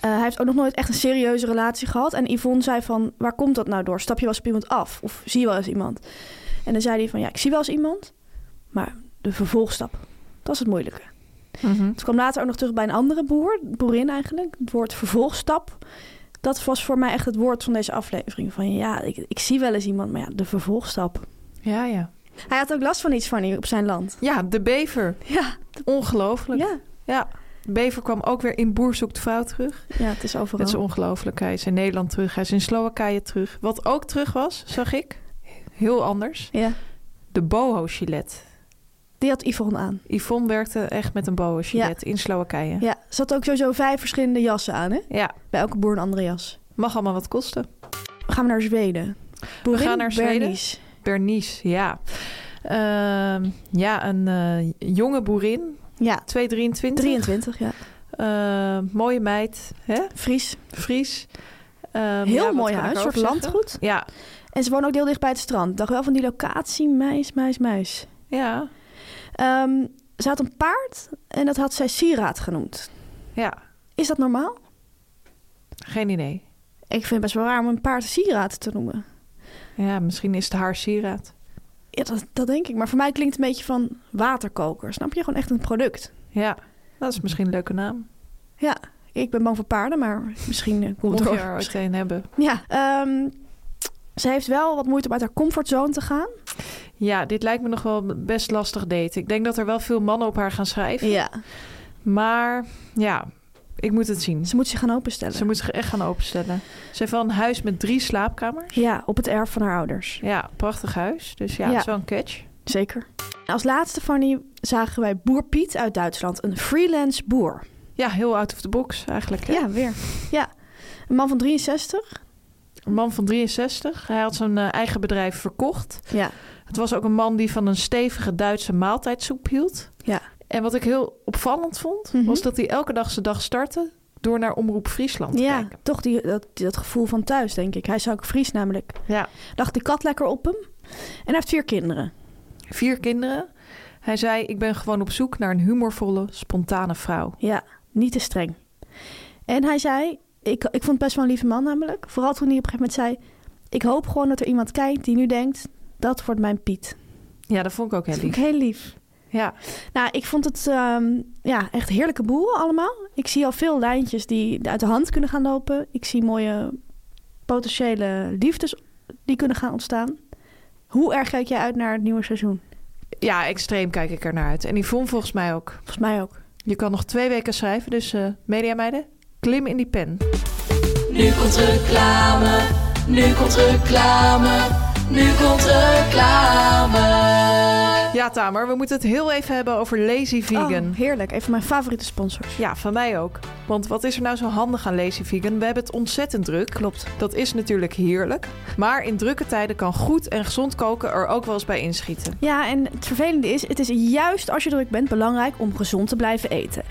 eh, hij heeft ook nog nooit echt een serieuze relatie gehad. En Yvonne zei van, waar komt dat nou door? Stap je wel eens op iemand af? Of zie je wel eens iemand? En dan zei hij van, ja, ik zie wel eens iemand. Maar de vervolgstap, dat is het moeilijke. Het kwam later ook nog terug bij een andere boer, boerin eigenlijk. Het woord vervolgstap. Dat was voor mij echt het woord van deze aflevering. Van ja, ik, ik zie wel eens iemand, maar ja, de vervolgstap. Ja, ja. Hij had ook last van iets van hier op zijn land. Ja, de bever. Ja, Ongelooflijk. ja. Ja. De bever kwam ook weer in Boer zoekt vrouw terug. ja het is overal. Dat is ongelooflijk. Hij is in Nederland terug. Hij is in Slowakije terug. Wat ook terug was, zag ik. Heel anders. Ja. De boho-gilet. Die had Yvonne aan. Yvonne werkte echt met een boho-gilet in Slowakije. Ja, ze had ook sowieso vijf verschillende jassen aan. Hè? Ja, Bij elke boer een andere jas. mag allemaal wat kosten. We gaan naar Zweden. We gaan naar Zweden. Bernice. Bernice, ja. Ehm, ja, een eh, jonge boerin, Ja, 223. 23, ja. Eh, mooie meid, hè? Fries. Fries. Ehm, ja, Heel wat mooi kan ik huis, een soort erover zeggen? landgoed. Ja, En ze woont ook heel dicht bij het strand. Dacht wel van die locatie, meis, meis, meis. ja, Ehm, ze had een paard en dat had zij sieraad genoemd. ja. Is dat normaal? Geen idee. Ik vind het best wel raar om een paard sieraad te noemen. Ja, misschien is het haar sieraad. Ja, dat, dat denk ik. Maar voor mij klinkt het een beetje van waterkoker. Snap je? Gewoon echt een product. Ja, dat is misschien een leuke naam. Ja, ik ben bang voor paarden, maar misschien eh, komt Moet het je door. er ooit een hebben. Ja, ehm, ze heeft wel wat moeite om uit haar comfortzone te gaan. Ja, dit lijkt me nog wel best lastig daten. Ik denk dat er wel veel mannen op haar gaan schrijven. Ja. Maar ja, ik moet het zien. Ze moet zich gaan openstellen. Ze moet zich echt gaan openstellen. Ze heeft wel een huis met drie slaapkamers. Ja, op het erf van haar ouders. Ja, prachtig huis. Dus ja, Ja. het is wel een catch. Zeker. Als laatste, Fanny, zagen wij boer Piet uit Duitsland. Een freelance boer. Ja, heel out of the box eigenlijk. hè? Ja, weer. Ja. Een man van 63. Een man van 63. Hij had zijn eh, eigen bedrijf verkocht. Ja. Het was ook een man die van een stevige Duitse maaltijdsoep hield. Ja. En wat ik heel opvallend vond, Mhm. was dat hij elke dag zijn dag startte door naar Omroep Friesland te Ja, kijken. toch die, dat, dat gevoel van thuis, denk ik. Hij is ook Fries namelijk. Ja. Dacht die kat lekker op hem. En hij heeft vier kinderen. Vier kinderen. Hij zei, ik ben gewoon op zoek naar een humorvolle, spontane vrouw. Ja, niet te streng. En hij zei, ik, ik vond het best wel een lieve man namelijk. Vooral toen hij op een gegeven moment zei... Ik hoop gewoon dat er iemand kijkt die nu denkt... Dat wordt mijn Piet. Ja, dat vond ik ook heel Dat vond lief. ik heel lief. Ja, Nou, ik vond het ehm, ja, echt heerlijke boeren allemaal. Ik zie al veel lijntjes die uit de hand kunnen gaan lopen. Ik zie mooie potentiële liefdes die kunnen gaan ontstaan. Hoe erg kijk jij uit naar het nieuwe seizoen? ja extreem kijk ik ernaar uit. En Yvonne volgens mij ook. Volgens mij ook. Je kan nog twee weken schrijven, dus eh media meiden, klim in die pen. Nu komt reclame, nu komt reclame, nu komt reclame. Ja, Tamer, we moeten het heel even hebben over Lazy Vegan. Oh, heerlijk. Een van mijn favoriete sponsors. Ja, van mij ook. Want wat is er nou zo handig aan Lazy Vegan? We hebben het ontzettend druk. Klopt. Dat is natuurlijk heerlijk. Maar in drukke tijden kan goed en gezond koken er ook wel eens bij inschieten. Ja, en het vervelende is, het is juist als je druk bent belangrijk om gezond te blijven eten.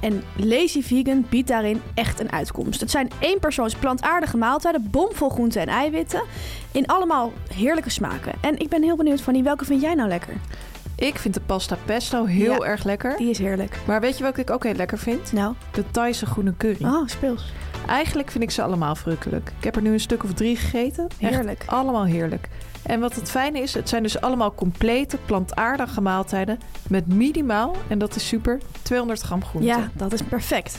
En Lazy Vegan biedt daarin echt een uitkomst. Het zijn éénpersoons plantaardige maaltijden, bomvol groenten en eiwitten, in allemaal heerlijke smaken. En ik ben heel benieuwd van die, welke vind jij nou lekker? Ik vind de pasta pesto heel Ja. erg lekker. Die is heerlijk. Maar weet je wat ik ook heel lekker vind? Nou, De Thaise groene curry. oh, speels. Eigenlijk vind ik ze allemaal verrukkelijk. Ik heb er nu een stuk of drie gegeten. Echt Heerlijk. allemaal heerlijk. En wat het fijne is, het zijn dus allemaal complete plantaardige maaltijden met minimaal, en dat is super, 200 gram groente. Ja, dat is perfect.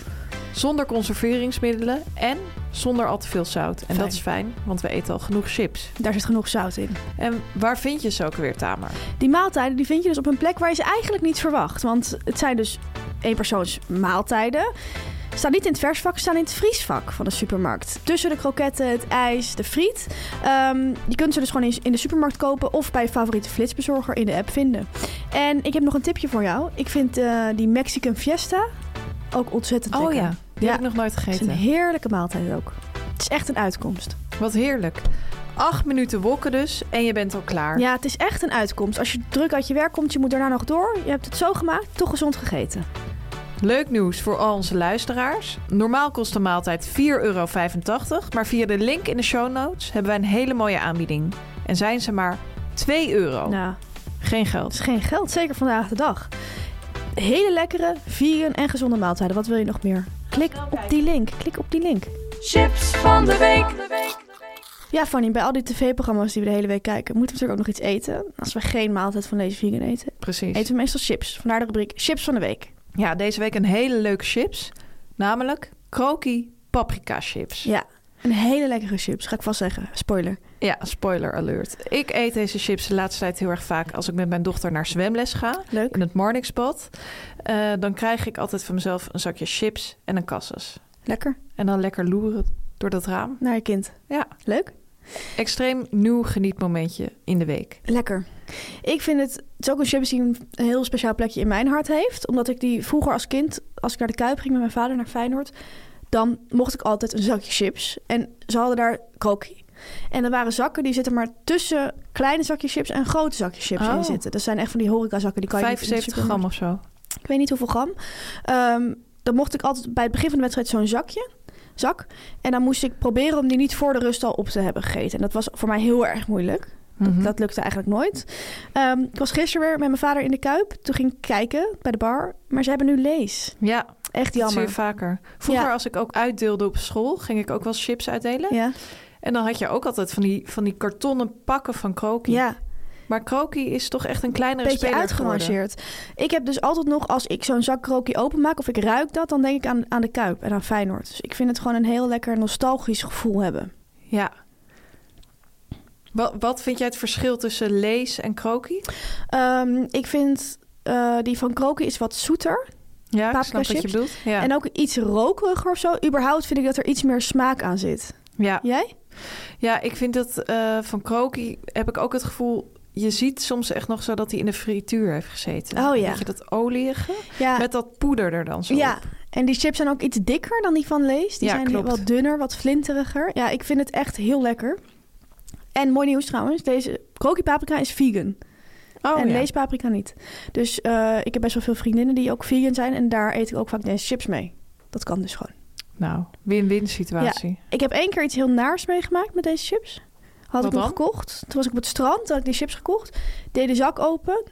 Zonder conserveringsmiddelen en zonder al te veel zout. En Fijn. dat is fijn, want we eten al genoeg chips. Daar zit genoeg zout in. En waar vind je ze ook weer, Tamer? Die maaltijden die vind je dus op een plek waar je ze eigenlijk niet verwacht. Want het zijn dus éénpersoons maaltijden. Ze staan niet in het versvak, ze staan in het vriesvak van de supermarkt. Tussen de kroketten, het ijs, de friet. Ehm, je kunt ze dus gewoon eens in de supermarkt kopen of bij je favoriete flitsbezorger in de app vinden. En ik heb nog een tipje voor jou. Ik vind eh, die Mexican Fiesta ook ontzettend Oh lekker. ja, die Ja. heb ik nog nooit Het is een gegeten. heerlijke maaltijd ook. Het is echt een uitkomst. Wat heerlijk. Acht minuten wokken dus en je bent al klaar. Ja, het is echt een uitkomst. Als je druk uit je werk komt, je moet daarna nog door. Je hebt het zo gemaakt, toch gezond gegeten. Leuk nieuws voor al onze luisteraars. Normaal kost de maaltijd 4,85 euro, maar via de link in de show notes hebben wij een hele mooie aanbieding. En zijn ze maar 2 Oh. euro. Nou, Geen dat geld. is geen geld, zeker vandaag de dag. Hele lekkere, vegan en gezonde maaltijden. Wat wil je nog meer? Klik op die link. Klik op die link. Chips van de week. Ja, Fanny, bij al die tv-programma's die we de hele week kijken, moeten we natuurlijk ook nog iets eten. Als we geen maaltijd van deze vegan eten, Precies. eten we meestal chips. Vandaar de rubriek Chips van de Week. Ja, deze week een hele leuke chips. Namelijk Kroki paprika chips. Ja, een hele lekkere chips, ga ik vast zeggen. Spoiler. Ja, spoiler alert. Ik eet deze chips de laatste tijd heel erg vaak als ik met mijn dochter naar zwemles ga. Leuk. In het Marnixbad. Eh, dan krijg ik altijd van mezelf een zakje chips en een kassus. Lekker. En dan lekker loeren door dat raam. Naar je kind. Ja, Leuk. extreem nieuw genietmomentje in de week. Lekker. Ik vind het, het is ook een chips die een een heel speciaal plekje in mijn hart heeft. Omdat ik die vroeger als kind, als ik naar de Kuip ging met mijn vader naar Feyenoord... dan mocht ik altijd een zakje chips. En ze hadden daar krokie. En er waren zakken die zitten maar tussen kleine zakjes chips en grote zakjes chips Oh. in zitten. Dat zijn echt van die horecazakken. Die kan je niet in de 75 supermarkt- gram of zo. ik weet niet hoeveel gram. Ehm, dan mocht ik altijd bij het begin van de wedstrijd zo'n zakje. Zak. En dan moest ik proberen om die niet voor de rust al op te hebben gegeten. En dat was voor mij heel erg moeilijk. Dat, Mhm. dat lukte eigenlijk nooit. Ehm, ik was gisteren weer met mijn vader in de Kuip. Toen ging ik kijken bij de bar. Maar ze hebben nu lees. Ja, Echt dat zie je jammer. vaker. Vroeger Ja. als ik ook uitdeelde op school, ging ik ook wel eens chips uitdelen. Ja. En dan had je ook altijd van die, van die kartonnen pakken van Kroki. ja, Maar Kroki is toch echt een kleinere beetje speler geworden. uitgerangeerd. Ik heb dus altijd nog, als ik zo'n zak krokie openmaak of ik ruik dat, dan denk ik aan, aan de Kuip en aan Feyenoord. Dus ik vind het gewoon een heel lekker nostalgisch gevoel hebben. Ja. Wat, wat vind jij het verschil tussen lees en kroki? Ehm, ik vind eh, die van kroken is wat zoeter. Ja, ik snap Paprika wat je chips. bedoelt. Ja. En ook iets rokeriger of zo. Überhaupt vind ik dat er iets meer smaak aan zit. ja. Jij? ja, ik vind dat eh, van Kroki heb ik ook het gevoel... Je ziet soms echt nog zo dat hij in de frituur heeft gezeten. Oh, ja. Weet je, dat olieige Ja. met dat poeder er dan zo ja. op. En die chips zijn ook iets dikker dan die van Lees. Die Ja, zijn klopt. wat dunner, wat flinteriger. Ja, ik vind het echt heel lekker. En mooi nieuws trouwens, deze kroki paprika is vegan. Oh, en ja. lees paprika niet. Dus eh, ik heb best wel veel vriendinnen die ook vegan zijn. En daar eet ik ook vaak deze chips mee. Dat kan dus gewoon. Nou, win-win situatie. Ik heb één keer iets heel naars meegemaakt met deze chips. Had Wat ik nog dan? gekocht. Toen was ik op het strand, toen had ik die chips gekocht. Deed de zak open.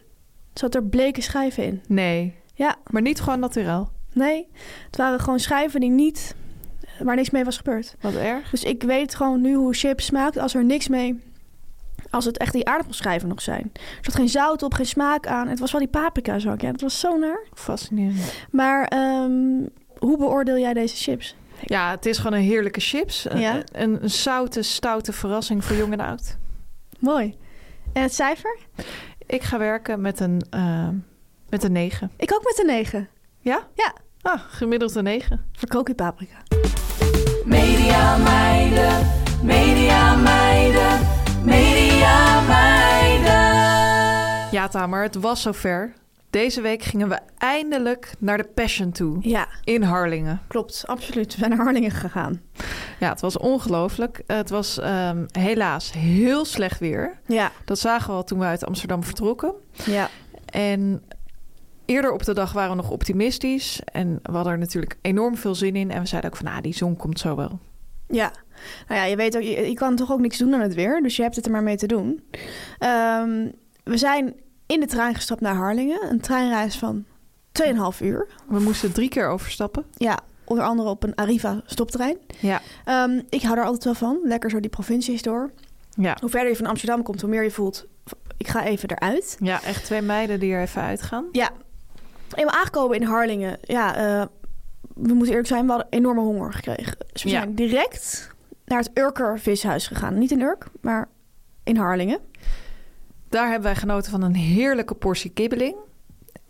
Zat er bleke schijven in. Nee, Ja, maar niet gewoon naturel. nee. Het waren gewoon schijven die niet... eh, Waar niks mee was gebeurd. Wat erg. Dus ik weet gewoon nu hoe chips smaakt als er niks mee... Als het echt die aardappelschijven nog zijn. Er zat geen zout op, geen smaak aan. Het was wel die paprika zak. Ja, dat was zo naar. Fascinerend. Maar ehm, hoe beoordeel jij deze chips? Ja, het is gewoon een heerlijke chips. Een- Ja. Een, een zoute, stoute verrassing voor jong en oud. Mooi. En het cijfer? Ik ga werken met een, eh, met een 9. Ik ook met een 9. Ja? Ja. Ah, gemiddeld een 9. Voor kookje paprika. Media meiden, media meiden, media meiden. Ja, Tamer, het was zover. Deze week gingen we eindelijk naar de Passion toe. Ja, In Harlingen. klopt. Absoluut. We zijn naar Harlingen gegaan. Ja, het was ongelooflijk. Het was ehm, helaas heel slecht weer. Ja, Dat zagen we al toen we uit Amsterdam vertrokken. ja. En eerder op de dag waren we nog optimistisch. En we hadden er natuurlijk enorm veel zin in. En we zeiden ook van, ah, die zon komt zo wel. Ja. Nou ja, je weet ook, je, je kan toch ook niks doen aan het weer. Dus je hebt het er maar mee te doen. Ehm, we zijn in de trein gestapt naar Harlingen. Een treinreis van 2,5 uur. We moesten drie keer overstappen. Ja, onder andere op een Arriva stoptrein. Ja. Ehm, ik hou daar altijd wel van. Lekker zo die provincies door. Ja. Hoe verder je van Amsterdam komt, hoe meer je voelt... ik ga even eruit. Ja, echt twee meiden die er even uitgaan. Ja. Eenmaal aangekomen in Harlingen. Ja, eh, we moeten eerlijk zijn, we hadden enorme honger gekregen. Dus we Ja. zijn direct naar het Urker vishuis gegaan. Niet in Urk, maar in Harlingen. Daar hebben wij genoten van een heerlijke portie kibbeling.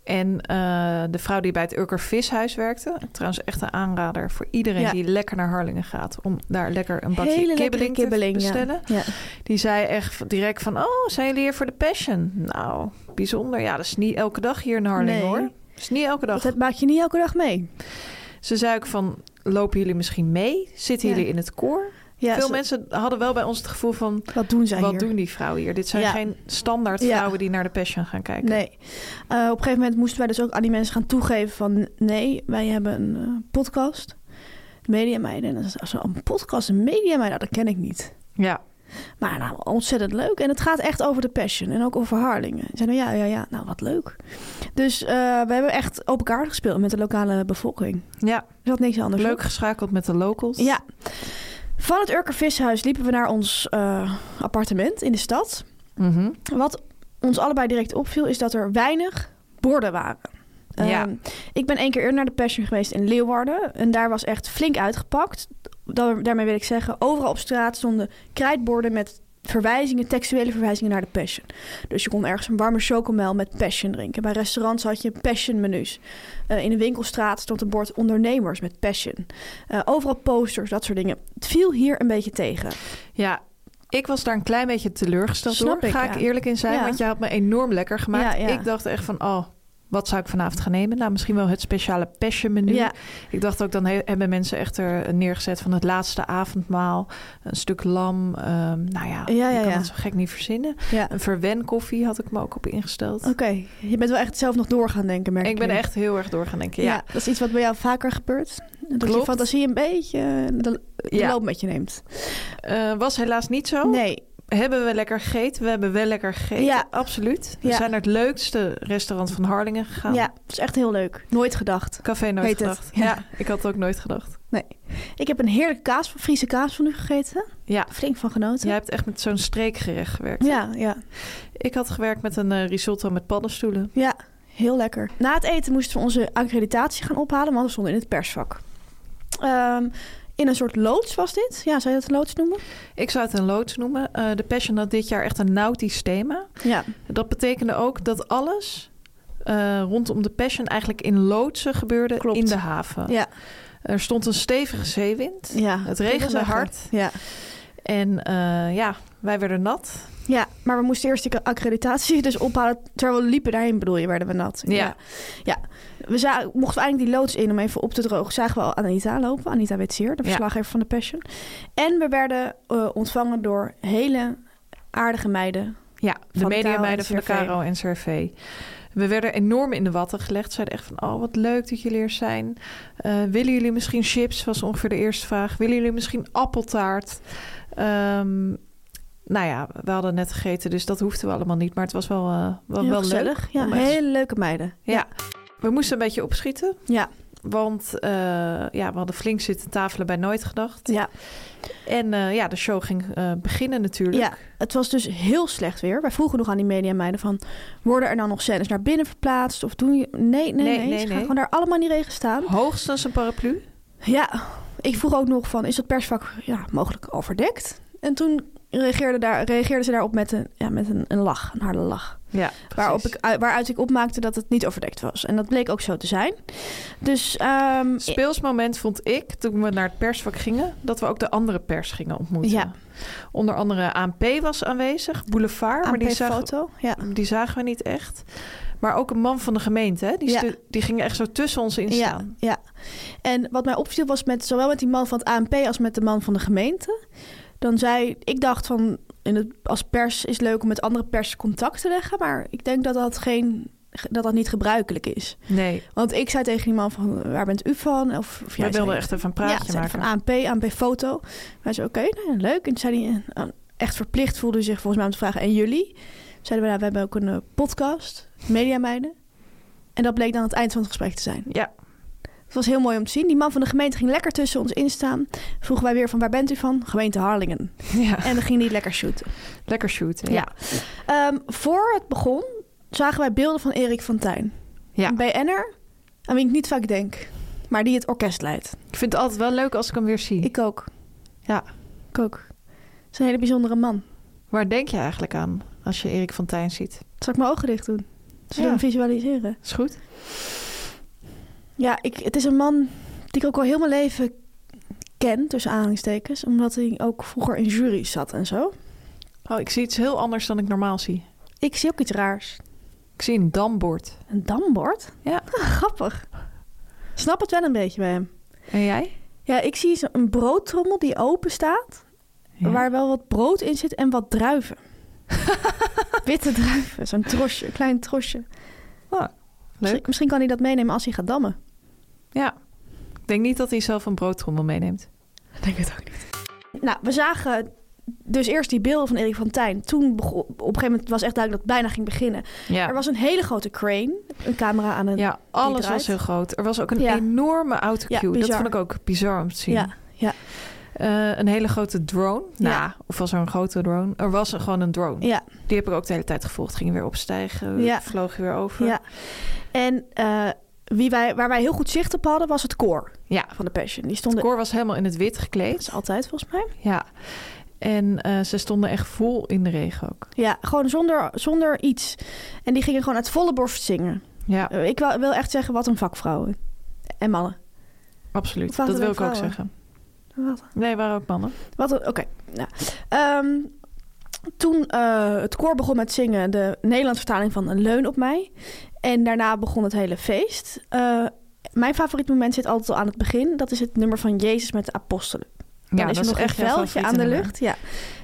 En eh, de vrouw die bij het Urker Vishuis werkte. Trouwens echt een aanrader voor iedereen Ja. die lekker naar Harlingen gaat. Om daar lekker een bakje Hele lekkere kibbeling, kibbeling, te ja. bestellen. Ja. Die zei echt direct van, oh, zijn jullie hier voor de Passion? Nou, bijzonder. Ja, dat is niet elke dag hier in Harlingen Nee. hoor. Dat is niet elke dag. Dat heb- maak je niet elke dag mee. Ze zei ook van, lopen jullie misschien mee? Zitten Ja. jullie in het koor? Ja, Veel ze- mensen hadden wel bij ons het gevoel van, Wat doen zij wat hier? doen die vrouwen hier? Dit zijn Ja. geen standaard Ja. vrouwen die naar de Passion gaan kijken. Nee. Eh, op een gegeven moment moesten wij dus ook aan die mensen gaan toegeven van... nee, wij hebben een eh, podcast. Media meiden. En dan is ze, "Oh, een podcast, een media meiden. Nou, dat ken ik niet. Ja, Maar nou, ontzettend leuk. En het gaat echt over de passion en ook over Harlingen. Ze zeiden, ja, ja, ja, nou wat leuk. Dus eh, we hebben echt op elkaar gespeeld met de lokale bevolking. ja. Er zat niks anders leuk op. geschakeld met de locals. Ja. Van het Urker Vishuis liepen we naar ons eh, appartement in de stad. Mhm. Wat ons allebei direct opviel, is dat er weinig borden waren. Ehm, Ja. ik ben één keer eerder naar de Passion geweest in Leeuwarden. En daar was echt flink uitgepakt. Da- daarmee wil ik zeggen, overal op straat stonden krijtborden met verwijzingen, textuele verwijzingen naar de Passion. Dus je kon ergens een warme chocomel met Passion drinken. Bij restaurants had je Passion menus. Eh, in de winkelstraat stond een bord ondernemers met Passion. Eh, overal posters, dat soort dingen. Het viel hier een beetje tegen. Ja, ik was daar een klein beetje teleurgesteld Snap door. ik, Ga ja. ik eerlijk in zijn, Ja. want je had me enorm lekker gemaakt. Ja, ja. Ik dacht echt van, oh, wat zou ik vanavond gaan nemen? Nou, misschien wel het speciale passion menu. Ja. Ik dacht ook, dan he- hebben mensen echt er neergezet van het laatste avondmaal. Een stuk lam, ehm, nou ja, Ja, ja, ik kan ja. het zo gek niet verzinnen. Ja. Een verwen koffie had ik me ook op ingesteld. Oké, je bent wel echt zelf nog door gaan denken, merk ik. Ik ben nu. echt heel erg door gaan denken, Ja. ja. dat is iets wat bij jou vaker gebeurt. Dat je Klopt. fantasie een beetje eh, de, de Ja. loop met je neemt. Eh, was helaas niet zo. Nee, Hebben we lekker gegeten? We hebben wel lekker gegeten, Ja. absoluut. We Ja. zijn naar het leukste restaurant van Harlingen gegaan. ja, dat is echt heel leuk. Nooit gedacht. Café nooit Heet het. gedacht. Ja. Ja. ik had het ook nooit gedacht. Nee. Ik heb een heerlijke kaas, Friese kaas van u gegeten. Ja, Flink van genoten. jij hebt echt met zo'n streekgerecht gewerkt. ja, ja, Ik had gewerkt met een eh, risotto met paddenstoelen. ja. Heel lekker. Na het eten moesten we onze accreditatie gaan ophalen, want we stonden in het persvak. Ehm, in een soort loods was dit. Ja, zou je dat een loods noemen? Ik zou het een loods noemen. Eh, de Passion had dit jaar echt een nautisch thema. Ja. Dat betekende ook dat alles eh, rondom de Passion eigenlijk in loodsen gebeurde Klopt. in de haven. Ja, Er stond een stevige zeewind. ja. Het regende Zeggen. hard. Ja. En eh, ja, wij werden nat. ja, maar we moesten eerst die accreditatie dus ophalen. Terwijl we liepen daarin, bedoel je, werden we nat. Ja. Ja, Ja. we za- mochten we eigenlijk die loods in om even op te drogen. Zagen we al Anita lopen, Anita Witsier, de Ja. verslaggever van de Passion. En we werden eh, ontvangen door hele aardige meiden. Ja, de Van de mediameiden van Caro de en CRV. Caro en CRV. We werden enorm in de watten gelegd. Zeiden echt van, oh wat leuk dat jullie er zijn. Eh, willen jullie misschien chips? Was ongeveer de eerste vraag. Willen jullie misschien appeltaart? Ehm, nou ja, we hadden net gegeten, dus dat hoefden we allemaal niet. Maar het was wel, eh, wel, Heel wel leuk. gezellig. Ja, om echt- hele leuke meiden. Ja. We moesten een beetje opschieten. Ja, Want eh, ja, we hadden flink zitten tafelen bij Nooit Gedacht. ja. En eh, ja, de show ging eh, beginnen natuurlijk. Ja, het was dus heel slecht weer. Wij vroegen nog aan die media meiden van... worden er nou nog scènes naar binnen verplaatst? Of doen je... Nee, nee, nee. Nee, nee, ze gaan nee. gewoon daar allemaal in die regen staan. Hoogstens een paraplu. Ja, ik vroeg ook nog van... is dat persvak ja, mogelijk overdekt? En toen reageerde, daar, reageerde ze daarop met, een, ja, met een, een lach, een harde lach. Ja, Waarop ik, waaruit ik opmaakte dat het niet overdekt was. En dat bleek ook zo te zijn. Dus ehm, Speels moment vond ik, toen we naar het persvak gingen, dat we ook de andere pers gingen ontmoeten. Ja. Onder andere ANP was aanwezig, Boulevard, maar die, ANP zag- Ah, foto. Ja. die zagen we niet echt. Maar ook een man van de gemeente, hè? Die, Ja. stu- die ging echt zo tussen ons in Ja, staan. ja. En wat mij opviel was met zowel met die man van het ANP als met de man van de gemeente. Dan zei ik dacht van in het, als pers is leuk om met andere pers contact te leggen, maar ik denk dat dat geen dat dat niet gebruikelijk is. Nee, Want ik zei tegen die man van waar bent u van? Of, of jij wij wilden zei- echt even een ja, praatje zei maken. van ANP, ANP foto. Wij zei oké, nou ja, leuk. En toen zei hij eh, echt verplicht voelde hij zich volgens mij om te vragen en jullie? Toen Zeiden we nou, we hebben ook een eh, podcast, Media Meiden. En dat bleek dan het eind van het gesprek te zijn. Ja, Het was heel mooi om te zien. Die man van de gemeente ging lekker tussen ons instaan. Vroegen wij weer van waar bent u van? Gemeente Harlingen. ja. En dan ging die lekker shooten. lekker shooten. Ja. Ehm, voor het begon zagen wij beelden van Erik van Tijn. Ja. Een BN'er, aan wie ik niet vaak denk. Maar die het orkest leidt. Ik vind het altijd wel leuk als ik hem weer zie. Ik ook. Ja. Ik ook. Het is een hele bijzondere man. Waar denk je eigenlijk aan als je Erik van Tijn ziet? Zal ik mijn ogen dicht doen? Zal ik Ja. hem visualiseren? Is goed? Ja, ik, het is een man die ik ook al heel mijn leven ken, tussen aanhalingstekens. Omdat hij ook vroeger in juries zat en zo. Oh, ik zie iets heel anders dan ik normaal zie. Ik zie ook iets raars. Ik zie een dambord. Een dambord? Ja. Grappig. Snap het wel een beetje bij hem. En jij? Ja, ik zie zo- een broodtrommel die open staat, Ja. waar wel wat brood in zit en wat druiven. Witte druiven, zo'n trosje, een klein trosje. Misschien, Ah, Leuk. misschien kan hij dat meenemen als hij gaat dammen. Ja. Ik denk niet dat hij zelf een broodtrommel meeneemt. Ik denk het ook niet. Nou, we zagen dus eerst die beelden van Erik van Tijn. Toen begon, op een gegeven moment was echt duidelijk dat het bijna ging beginnen. Ja. Er was een hele grote crane, een camera aan een... ja, alles draait. was heel groot. Er was ook een Ja. enorme Ja, autocue. dat bizar. vond ik ook bizar om te zien. ja, ja, Eh, een hele grote drone. Nou, Ja. of was er een grote drone? Er was er gewoon een drone. ja. Die heb ik ook de hele tijd gevolgd. Ging weer opstijgen, Ja. vloog weer over. Ja. En eh, wie wij, waar wij heel goed zicht op hadden, was het koor Ja. van de Passion. Die Het stonden koor was helemaal in het wit dat gekleed. is altijd volgens mij. Ja. En eh, ze stonden echt vol in de regen ook. Ja, gewoon zonder, zonder iets. En die gingen gewoon uit volle borst zingen. Ja, Eh, Ik wil, wil echt zeggen, wat een vakvrouwen. En mannen. absoluut. Of waren Dat er wil ik dan ook vrouwen? zeggen. Wat, Nee, er waren ook mannen. wat een- oké. Nou. Ehm, toen eh, het koor begon met zingen, de Nederlandse vertaling van Een Leun op mij. En daarna begon het hele feest. Eh, mijn favoriet moment zit altijd al aan het begin. Dat is het nummer van Jezus met de apostelen. Dan is er nog echt jouw wel veldje aan favoriete de nummer. lucht. Ja.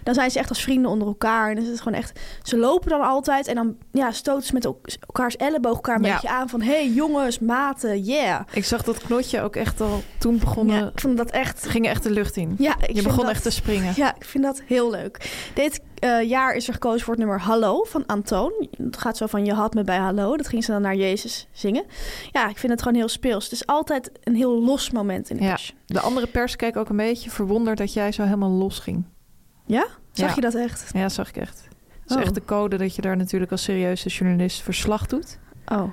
Dan zijn ze echt als vrienden onder elkaar. En dan is het gewoon echt... Ze lopen dan altijd en dan ja, stoten ze met el- elkaars elleboog elkaar een Ja. beetje aan. Van, hey, jongens, maten, yeah. Ik zag dat knotje ook echt al toen begonnen. Ja, ik vond dat echt... Ging echt de lucht in. Ja, ik je vind begon dat- echt te springen. Ja, ik vind dat heel leuk. Dit eh, jaar is er gekozen voor het nummer Hallo van Antoon. Het gaat zo van je had me bij Hallo. Dat ging ze dan naar Jezus zingen. Ja, ik vind het gewoon heel speels. Het is altijd een heel los moment in de Ja. passion. De andere pers keek ook een beetje verwonderd dat jij zo helemaal los ging. Ja? Zag Ja. je dat echt? Ja, zag ik echt. Het is Oh. echt de code dat je daar natuurlijk als serieuze journalist verslag doet. Oh,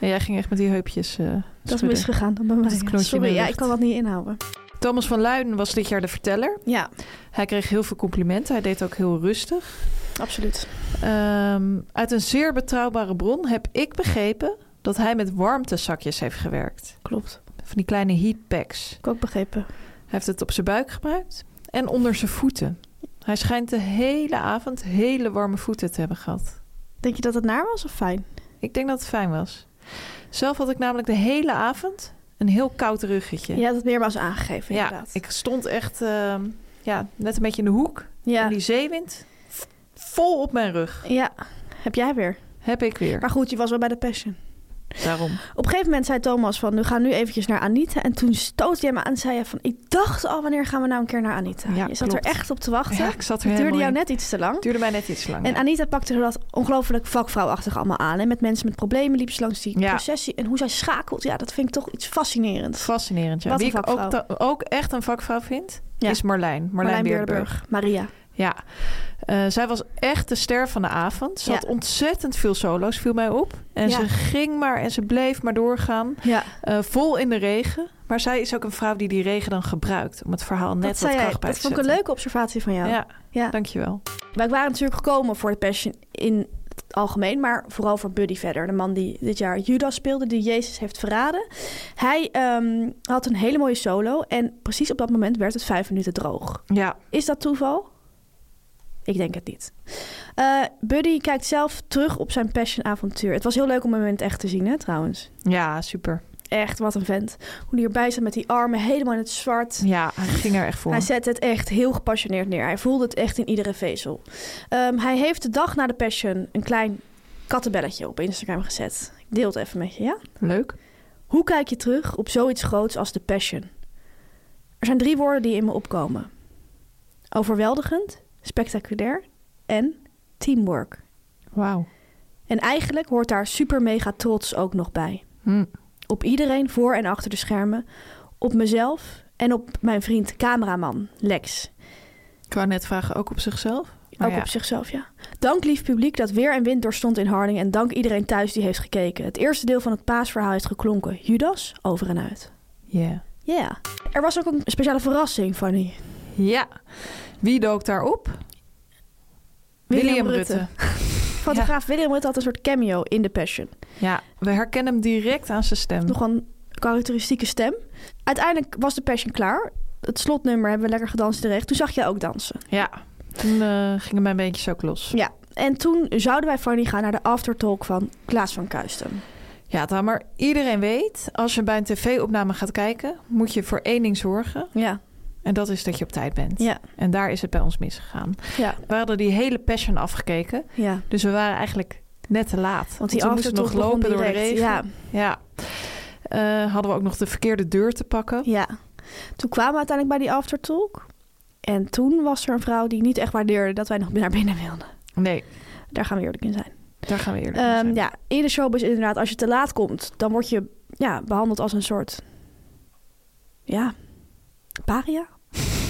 En jij ging echt met die heupjes. eh, dat is schudden. misgegaan dan bij mij. het knotje in Sorry, de ja, lucht. ik kan dat niet inhouden. Thomas van Luiden was dit jaar de verteller. Ja, Hij kreeg heel veel complimenten. Hij deed ook heel rustig. absoluut. Ehm, uit een zeer betrouwbare bron heb ik begrepen dat hij met warmtezakjes heeft gewerkt. Klopt. Van die kleine heatpacks. Ik ook begrepen. Hij heeft het op zijn buik gebruikt en onder zijn voeten. Hij schijnt de hele avond hele warme voeten te hebben gehad. Denk je dat het naar was of fijn? Ik denk dat het fijn was. Zelf had ik namelijk de hele avond een heel koud Ja, ruggetje. dat het meermaals aangegeven, ja inderdaad. ik stond echt ehm, ja, net een beetje in de hoek. ja. En die zeewind v- vol op mijn rug ja, heb jij weer. heb ik weer. Maar goed, je was wel bij de Passion. Daarom. Op een gegeven moment zei Thomas van, we gaan nu eventjes naar Anita. En toen stootte jij me aan en zei je van, ik dacht al, wanneer gaan we nou een keer naar Anita? Ja, je zat klopt. er echt op te wachten. Ja, ik zat er het duurde helemaal jou in. net iets te lang. duurde mij net iets langer. En Anita pakte dat ongelooflijk vakvrouwachtig allemaal aan. En met mensen met problemen liep ze langs die Ja. processie. En hoe zij schakelt, ja, dat vind ik toch iets fascinerends. Fascinerend, ja. Wat Wie een ik ook, vakvrouw. ta- ook echt een vakvrouw vind, Ja. is Marlijn. Marlijn, Beerdenburg. Maria. Ja. Eh, zij was echt de ster van de avond. Ze Ja. had ontzettend veel solo's, viel mij op. En Ja. ze ging maar en ze bleef maar doorgaan. Ja, Eh, vol in de regen. Maar zij is ook een vrouw die die regen dan gebruikt. Om het verhaal net dat zei wat jij. kracht bij Dat te vond ik een zetten. leuke observatie van jou. Ja, Ja. dankjewel. Wij waren natuurlijk gekomen voor de Passion in het algemeen, maar vooral voor Buddy verder. De man die dit jaar Judas speelde, die Jezus heeft verraden. Hij ehm, had een hele mooie solo en precies op dat moment werd het vijf minuten droog. Ja, Is dat toeval? Ik denk het niet. Eh, Buddy kijkt zelf terug op zijn Passion-avontuur. Het was heel leuk om hem in het echt te zien, hè, trouwens. ja super. Echt, wat een vent. Hoe hij erbij staat met die armen, helemaal in het zwart. Ja, hij ging er echt voor. Hij zette het echt heel gepassioneerd neer. Hij voelde het echt in iedere vezel. Ehm, hij heeft de dag na de Passion een klein kattenbelletje op Instagram gezet. Ik deel het even met je, ja? Leuk. Hoe kijk je terug op zoiets groots als de Passion? Er zijn drie woorden die in me opkomen. Overweldigend, spectaculair en teamwork. Wauw. En eigenlijk hoort daar super mega trots ook nog bij. Hm. Op iedereen voor en achter de schermen. Op mezelf en op mijn vriend cameraman Lex. Ik wou net vragen, ook op zichzelf? Maar ook Oh ja. op zichzelf, ja. Dank lief publiek dat weer en wind doorstond in Harding. En dank iedereen thuis die heeft gekeken. Het eerste deel van het paasverhaal heeft geklonken. Judas, over en uit. Ja. Ja. Er was ook een speciale verrassing, Fanny. Ja. Wie dook daarop? William Rutte. Fotograaf William Rutte had een soort cameo in The Passion. Ja, we herkennen hem direct aan zijn stem. Nog een karakteristieke stem. Uiteindelijk was The Passion klaar. Het slotnummer hebben we lekker gedanst terecht. Toen zag jij ook dansen. Ja, toen eh gingen mijn beentjes ook los. Ja. En toen zouden wij, Fanny, gaan naar de aftertalk van Klaas van Kuisten. Ja, dan maar iedereen weet, als je bij een tv-opname gaat kijken, moet je voor één ding zorgen. Ja. En dat is dat je op tijd bent. Ja. En daar is het bij ons misgegaan. Ja. We hadden die hele passion afgekeken, Ja. dus we waren eigenlijk net te laat. Want die we moesten aftertalk begon nog lopen door de direct. regen. Ja. Ja. Eh, hadden we ook nog de verkeerde deur te pakken. Ja. Toen kwamen we uiteindelijk bij die aftertalk. En toen was er een vrouw die niet echt waardeerde dat wij nog naar binnen wilden. Nee, Daar gaan we eerlijk in zijn. daar gaan we eerlijk in Ehm, zijn. ja, in de showbiz inderdaad, als je te laat komt, dan word je ja, behandeld als een soort... Ja, paria.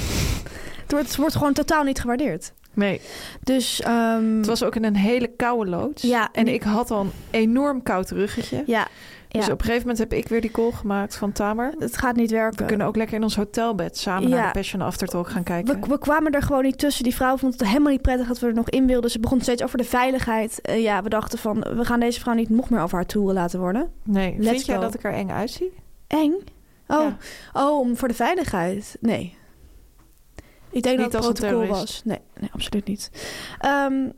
het, wordt, het wordt gewoon totaal niet gewaardeerd. Nee, Dus ehm, het was ook in een hele koude loods. Ja, en niet- ik had al een enorm koud ruggetje. ja, Dus Ja. op een gegeven moment heb ik weer die call gemaakt van Tamer. het gaat niet werken. We kunnen ook lekker in ons hotelbed samen Eh, Ja. naar de Passion Aftertalk gaan kijken. We, we kwamen er gewoon niet tussen. Die vrouw vond het helemaal niet prettig dat we er nog in wilden. Ze begon steeds over de veiligheid. Eh, ja, we dachten van, we gaan deze vrouw niet nog meer over haar toeren laten worden. nee, Let's vind jij go. dat ik er eng uitzie? Eng? Oh, Ja. oh om- voor de veiligheid? Nee. Ik denk Niet dat als een het protocol terrorist. was. Nee, nee, absoluut niet. Ehm,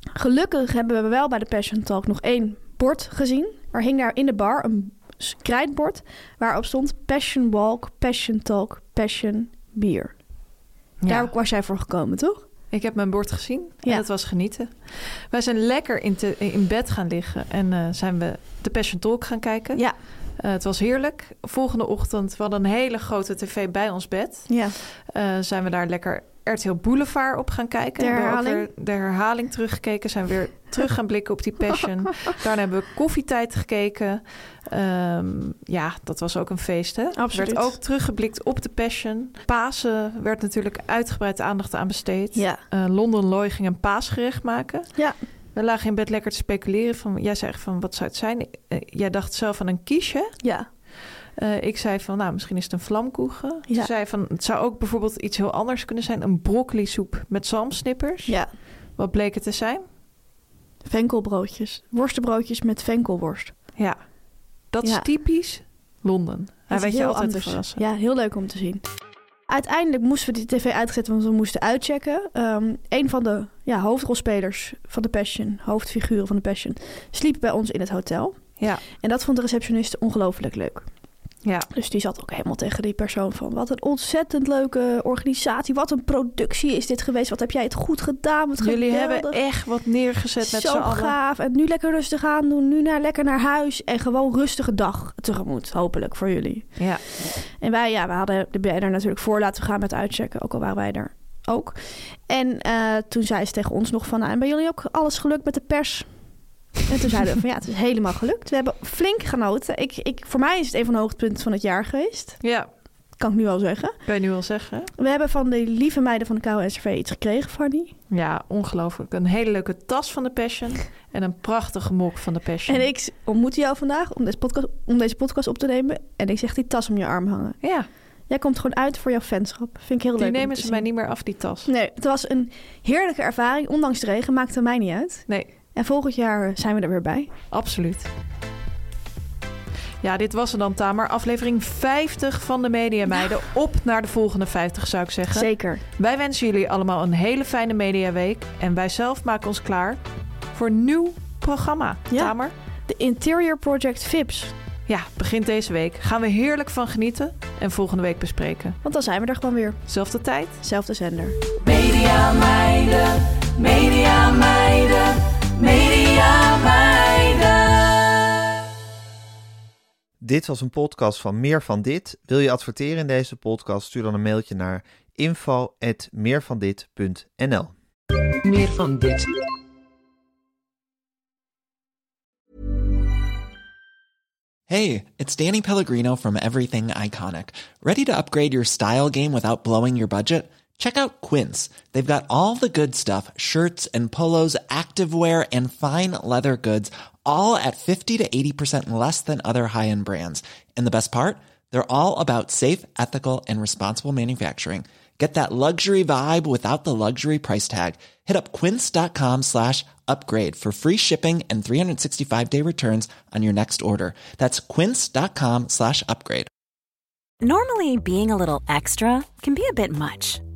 gelukkig hebben we wel bij de Passion Talk nog één bord gezien. Er hing daar in de bar een s- krijtbord waarop stond Passion Walk, Passion Talk, Passion Bier. Daar was jij voor gekomen, toch? Ik heb mijn bord gezien en Ja. dat was genieten. Wij zijn lekker in, te- in bed gaan liggen en eh, zijn we de Passion Talk gaan kijken. Ja. Eh, het was heerlijk. Volgende ochtend, we hadden een hele grote tv bij ons bed. Ja. Eh, zijn we daar lekker RTL Boulevard op gaan kijken. De Hebben we ook herhaling? weer de herhaling teruggekeken. Zijn weer terug gaan blikken op die Passion. Daarna hebben we koffietijd gekeken. Ehm, ja, dat was ook een feest, hè? Absoluut. Werd ook teruggeblikt op de Passion. Pasen werd natuurlijk uitgebreid aandacht aan besteed. Ja. Eh, London Loy ging een paasgerecht maken. Ja. We lagen in bed lekker te speculeren. Van, jij zei echt van, wat zou het zijn? Eh, jij dacht zelf aan een kiesje. Ja. Eh, ik zei van, nou, misschien is het een vlamkoegen. Ja. Ze zei van, het zou ook bijvoorbeeld iets heel anders kunnen zijn. Een broccoli soep met zalmsnippers. Ja. Wat bleek het te zijn? Venkelbroodjes. Worstenbroodjes met venkelworst. Ja. Dat is Ja. typisch Londen. Hij Dat is weet je heel altijd te anders. verrassen. Ja, heel leuk om te zien. Uiteindelijk moesten we die tv uitzetten, want we moesten uitchecken. Ehm een van de ja, hoofdrolspelers van The Passion, hoofdfiguren van The Passion, sliep bij ons in het hotel. Ja. En dat vond de receptioniste ongelooflijk leuk. Ja. Dus die zat ook helemaal tegen die persoon van... wat een ontzettend leuke organisatie. Wat een productie is dit geweest. Wat heb jij het goed gedaan. Wat Jullie geweldig. hebben echt wat neergezet met z'n Zo allen. gaaf. En nu lekker rustig aan doen. Nu naar, lekker naar huis. En gewoon rustige dag tegemoet. Hopelijk voor jullie. Ja. En wij, ja, we hadden de banner natuurlijk voor laten gaan met uitchecken. Ook al waren wij er ook. En eh, toen zei ze tegen ons nog van... nou, en bij jullie ook alles gelukt met de pers? En toen zeiden we van ja, het is helemaal gelukt. We hebben flink genoten. Ik, ik, voor mij is het een van de hoogtepunten van het jaar geweest. Ja, Kan ik nu al zeggen. kan je nu al zeggen. We hebben van de lieve meiden van de KOSRV iets gekregen, Fanny. Ja, ongelooflijk. Een hele leuke tas van de Passion en een prachtige mok van de Passion. En ik ontmoette jou vandaag om deze, podcast, om deze podcast op te nemen. En ik zeg die tas om je arm hangen. Ja, Jij komt gewoon uit voor jouw fanschap. Vind ik heel die leuk. om nemen te ze zien. mij niet meer af, die tas. Nee, het was een heerlijke ervaring. Ondanks de regen maakte mij niet uit. Nee, En volgend jaar eh, zijn we er weer bij. absoluut. Ja, dit was er dan, Tamer. Aflevering 50 van de Media Meiden. Op naar de volgende 50, zou ik zeggen. Zeker. Wij wensen jullie allemaal een hele fijne mediaweek. En wij zelf maken ons klaar voor een nieuw programma. Ja. Tamer? De Interior Project Vips. Ja, begint deze week. Gaan we heerlijk van genieten en volgende week bespreken. Want dan zijn we er gewoon weer. Zelfde tijd. Zelfde zender. Media meiden, media meiden, media meiden. Dit was een podcast van Meer van Dit. Wil je adverteren in deze podcast? Stuur dan een mailtje naar info.meervandit.nl Meer van dit. Hey, it's Danny Pellegrino from Everything Iconic. Ready to upgrade your style game without blowing your budget? Check out Quince. They've got all the good stuff shirts and polos, activewear, and fine leather goods, all at 50 to 80% less than other high end brands. And the best part? They're all about safe, ethical, and responsible manufacturing. Get that luxury vibe without the luxury price tag. Hit up quince.com slash upgrade for free shipping and 365 day returns on your next order. That's quince.com slash upgrade. Normally, being a little extra can be a bit much,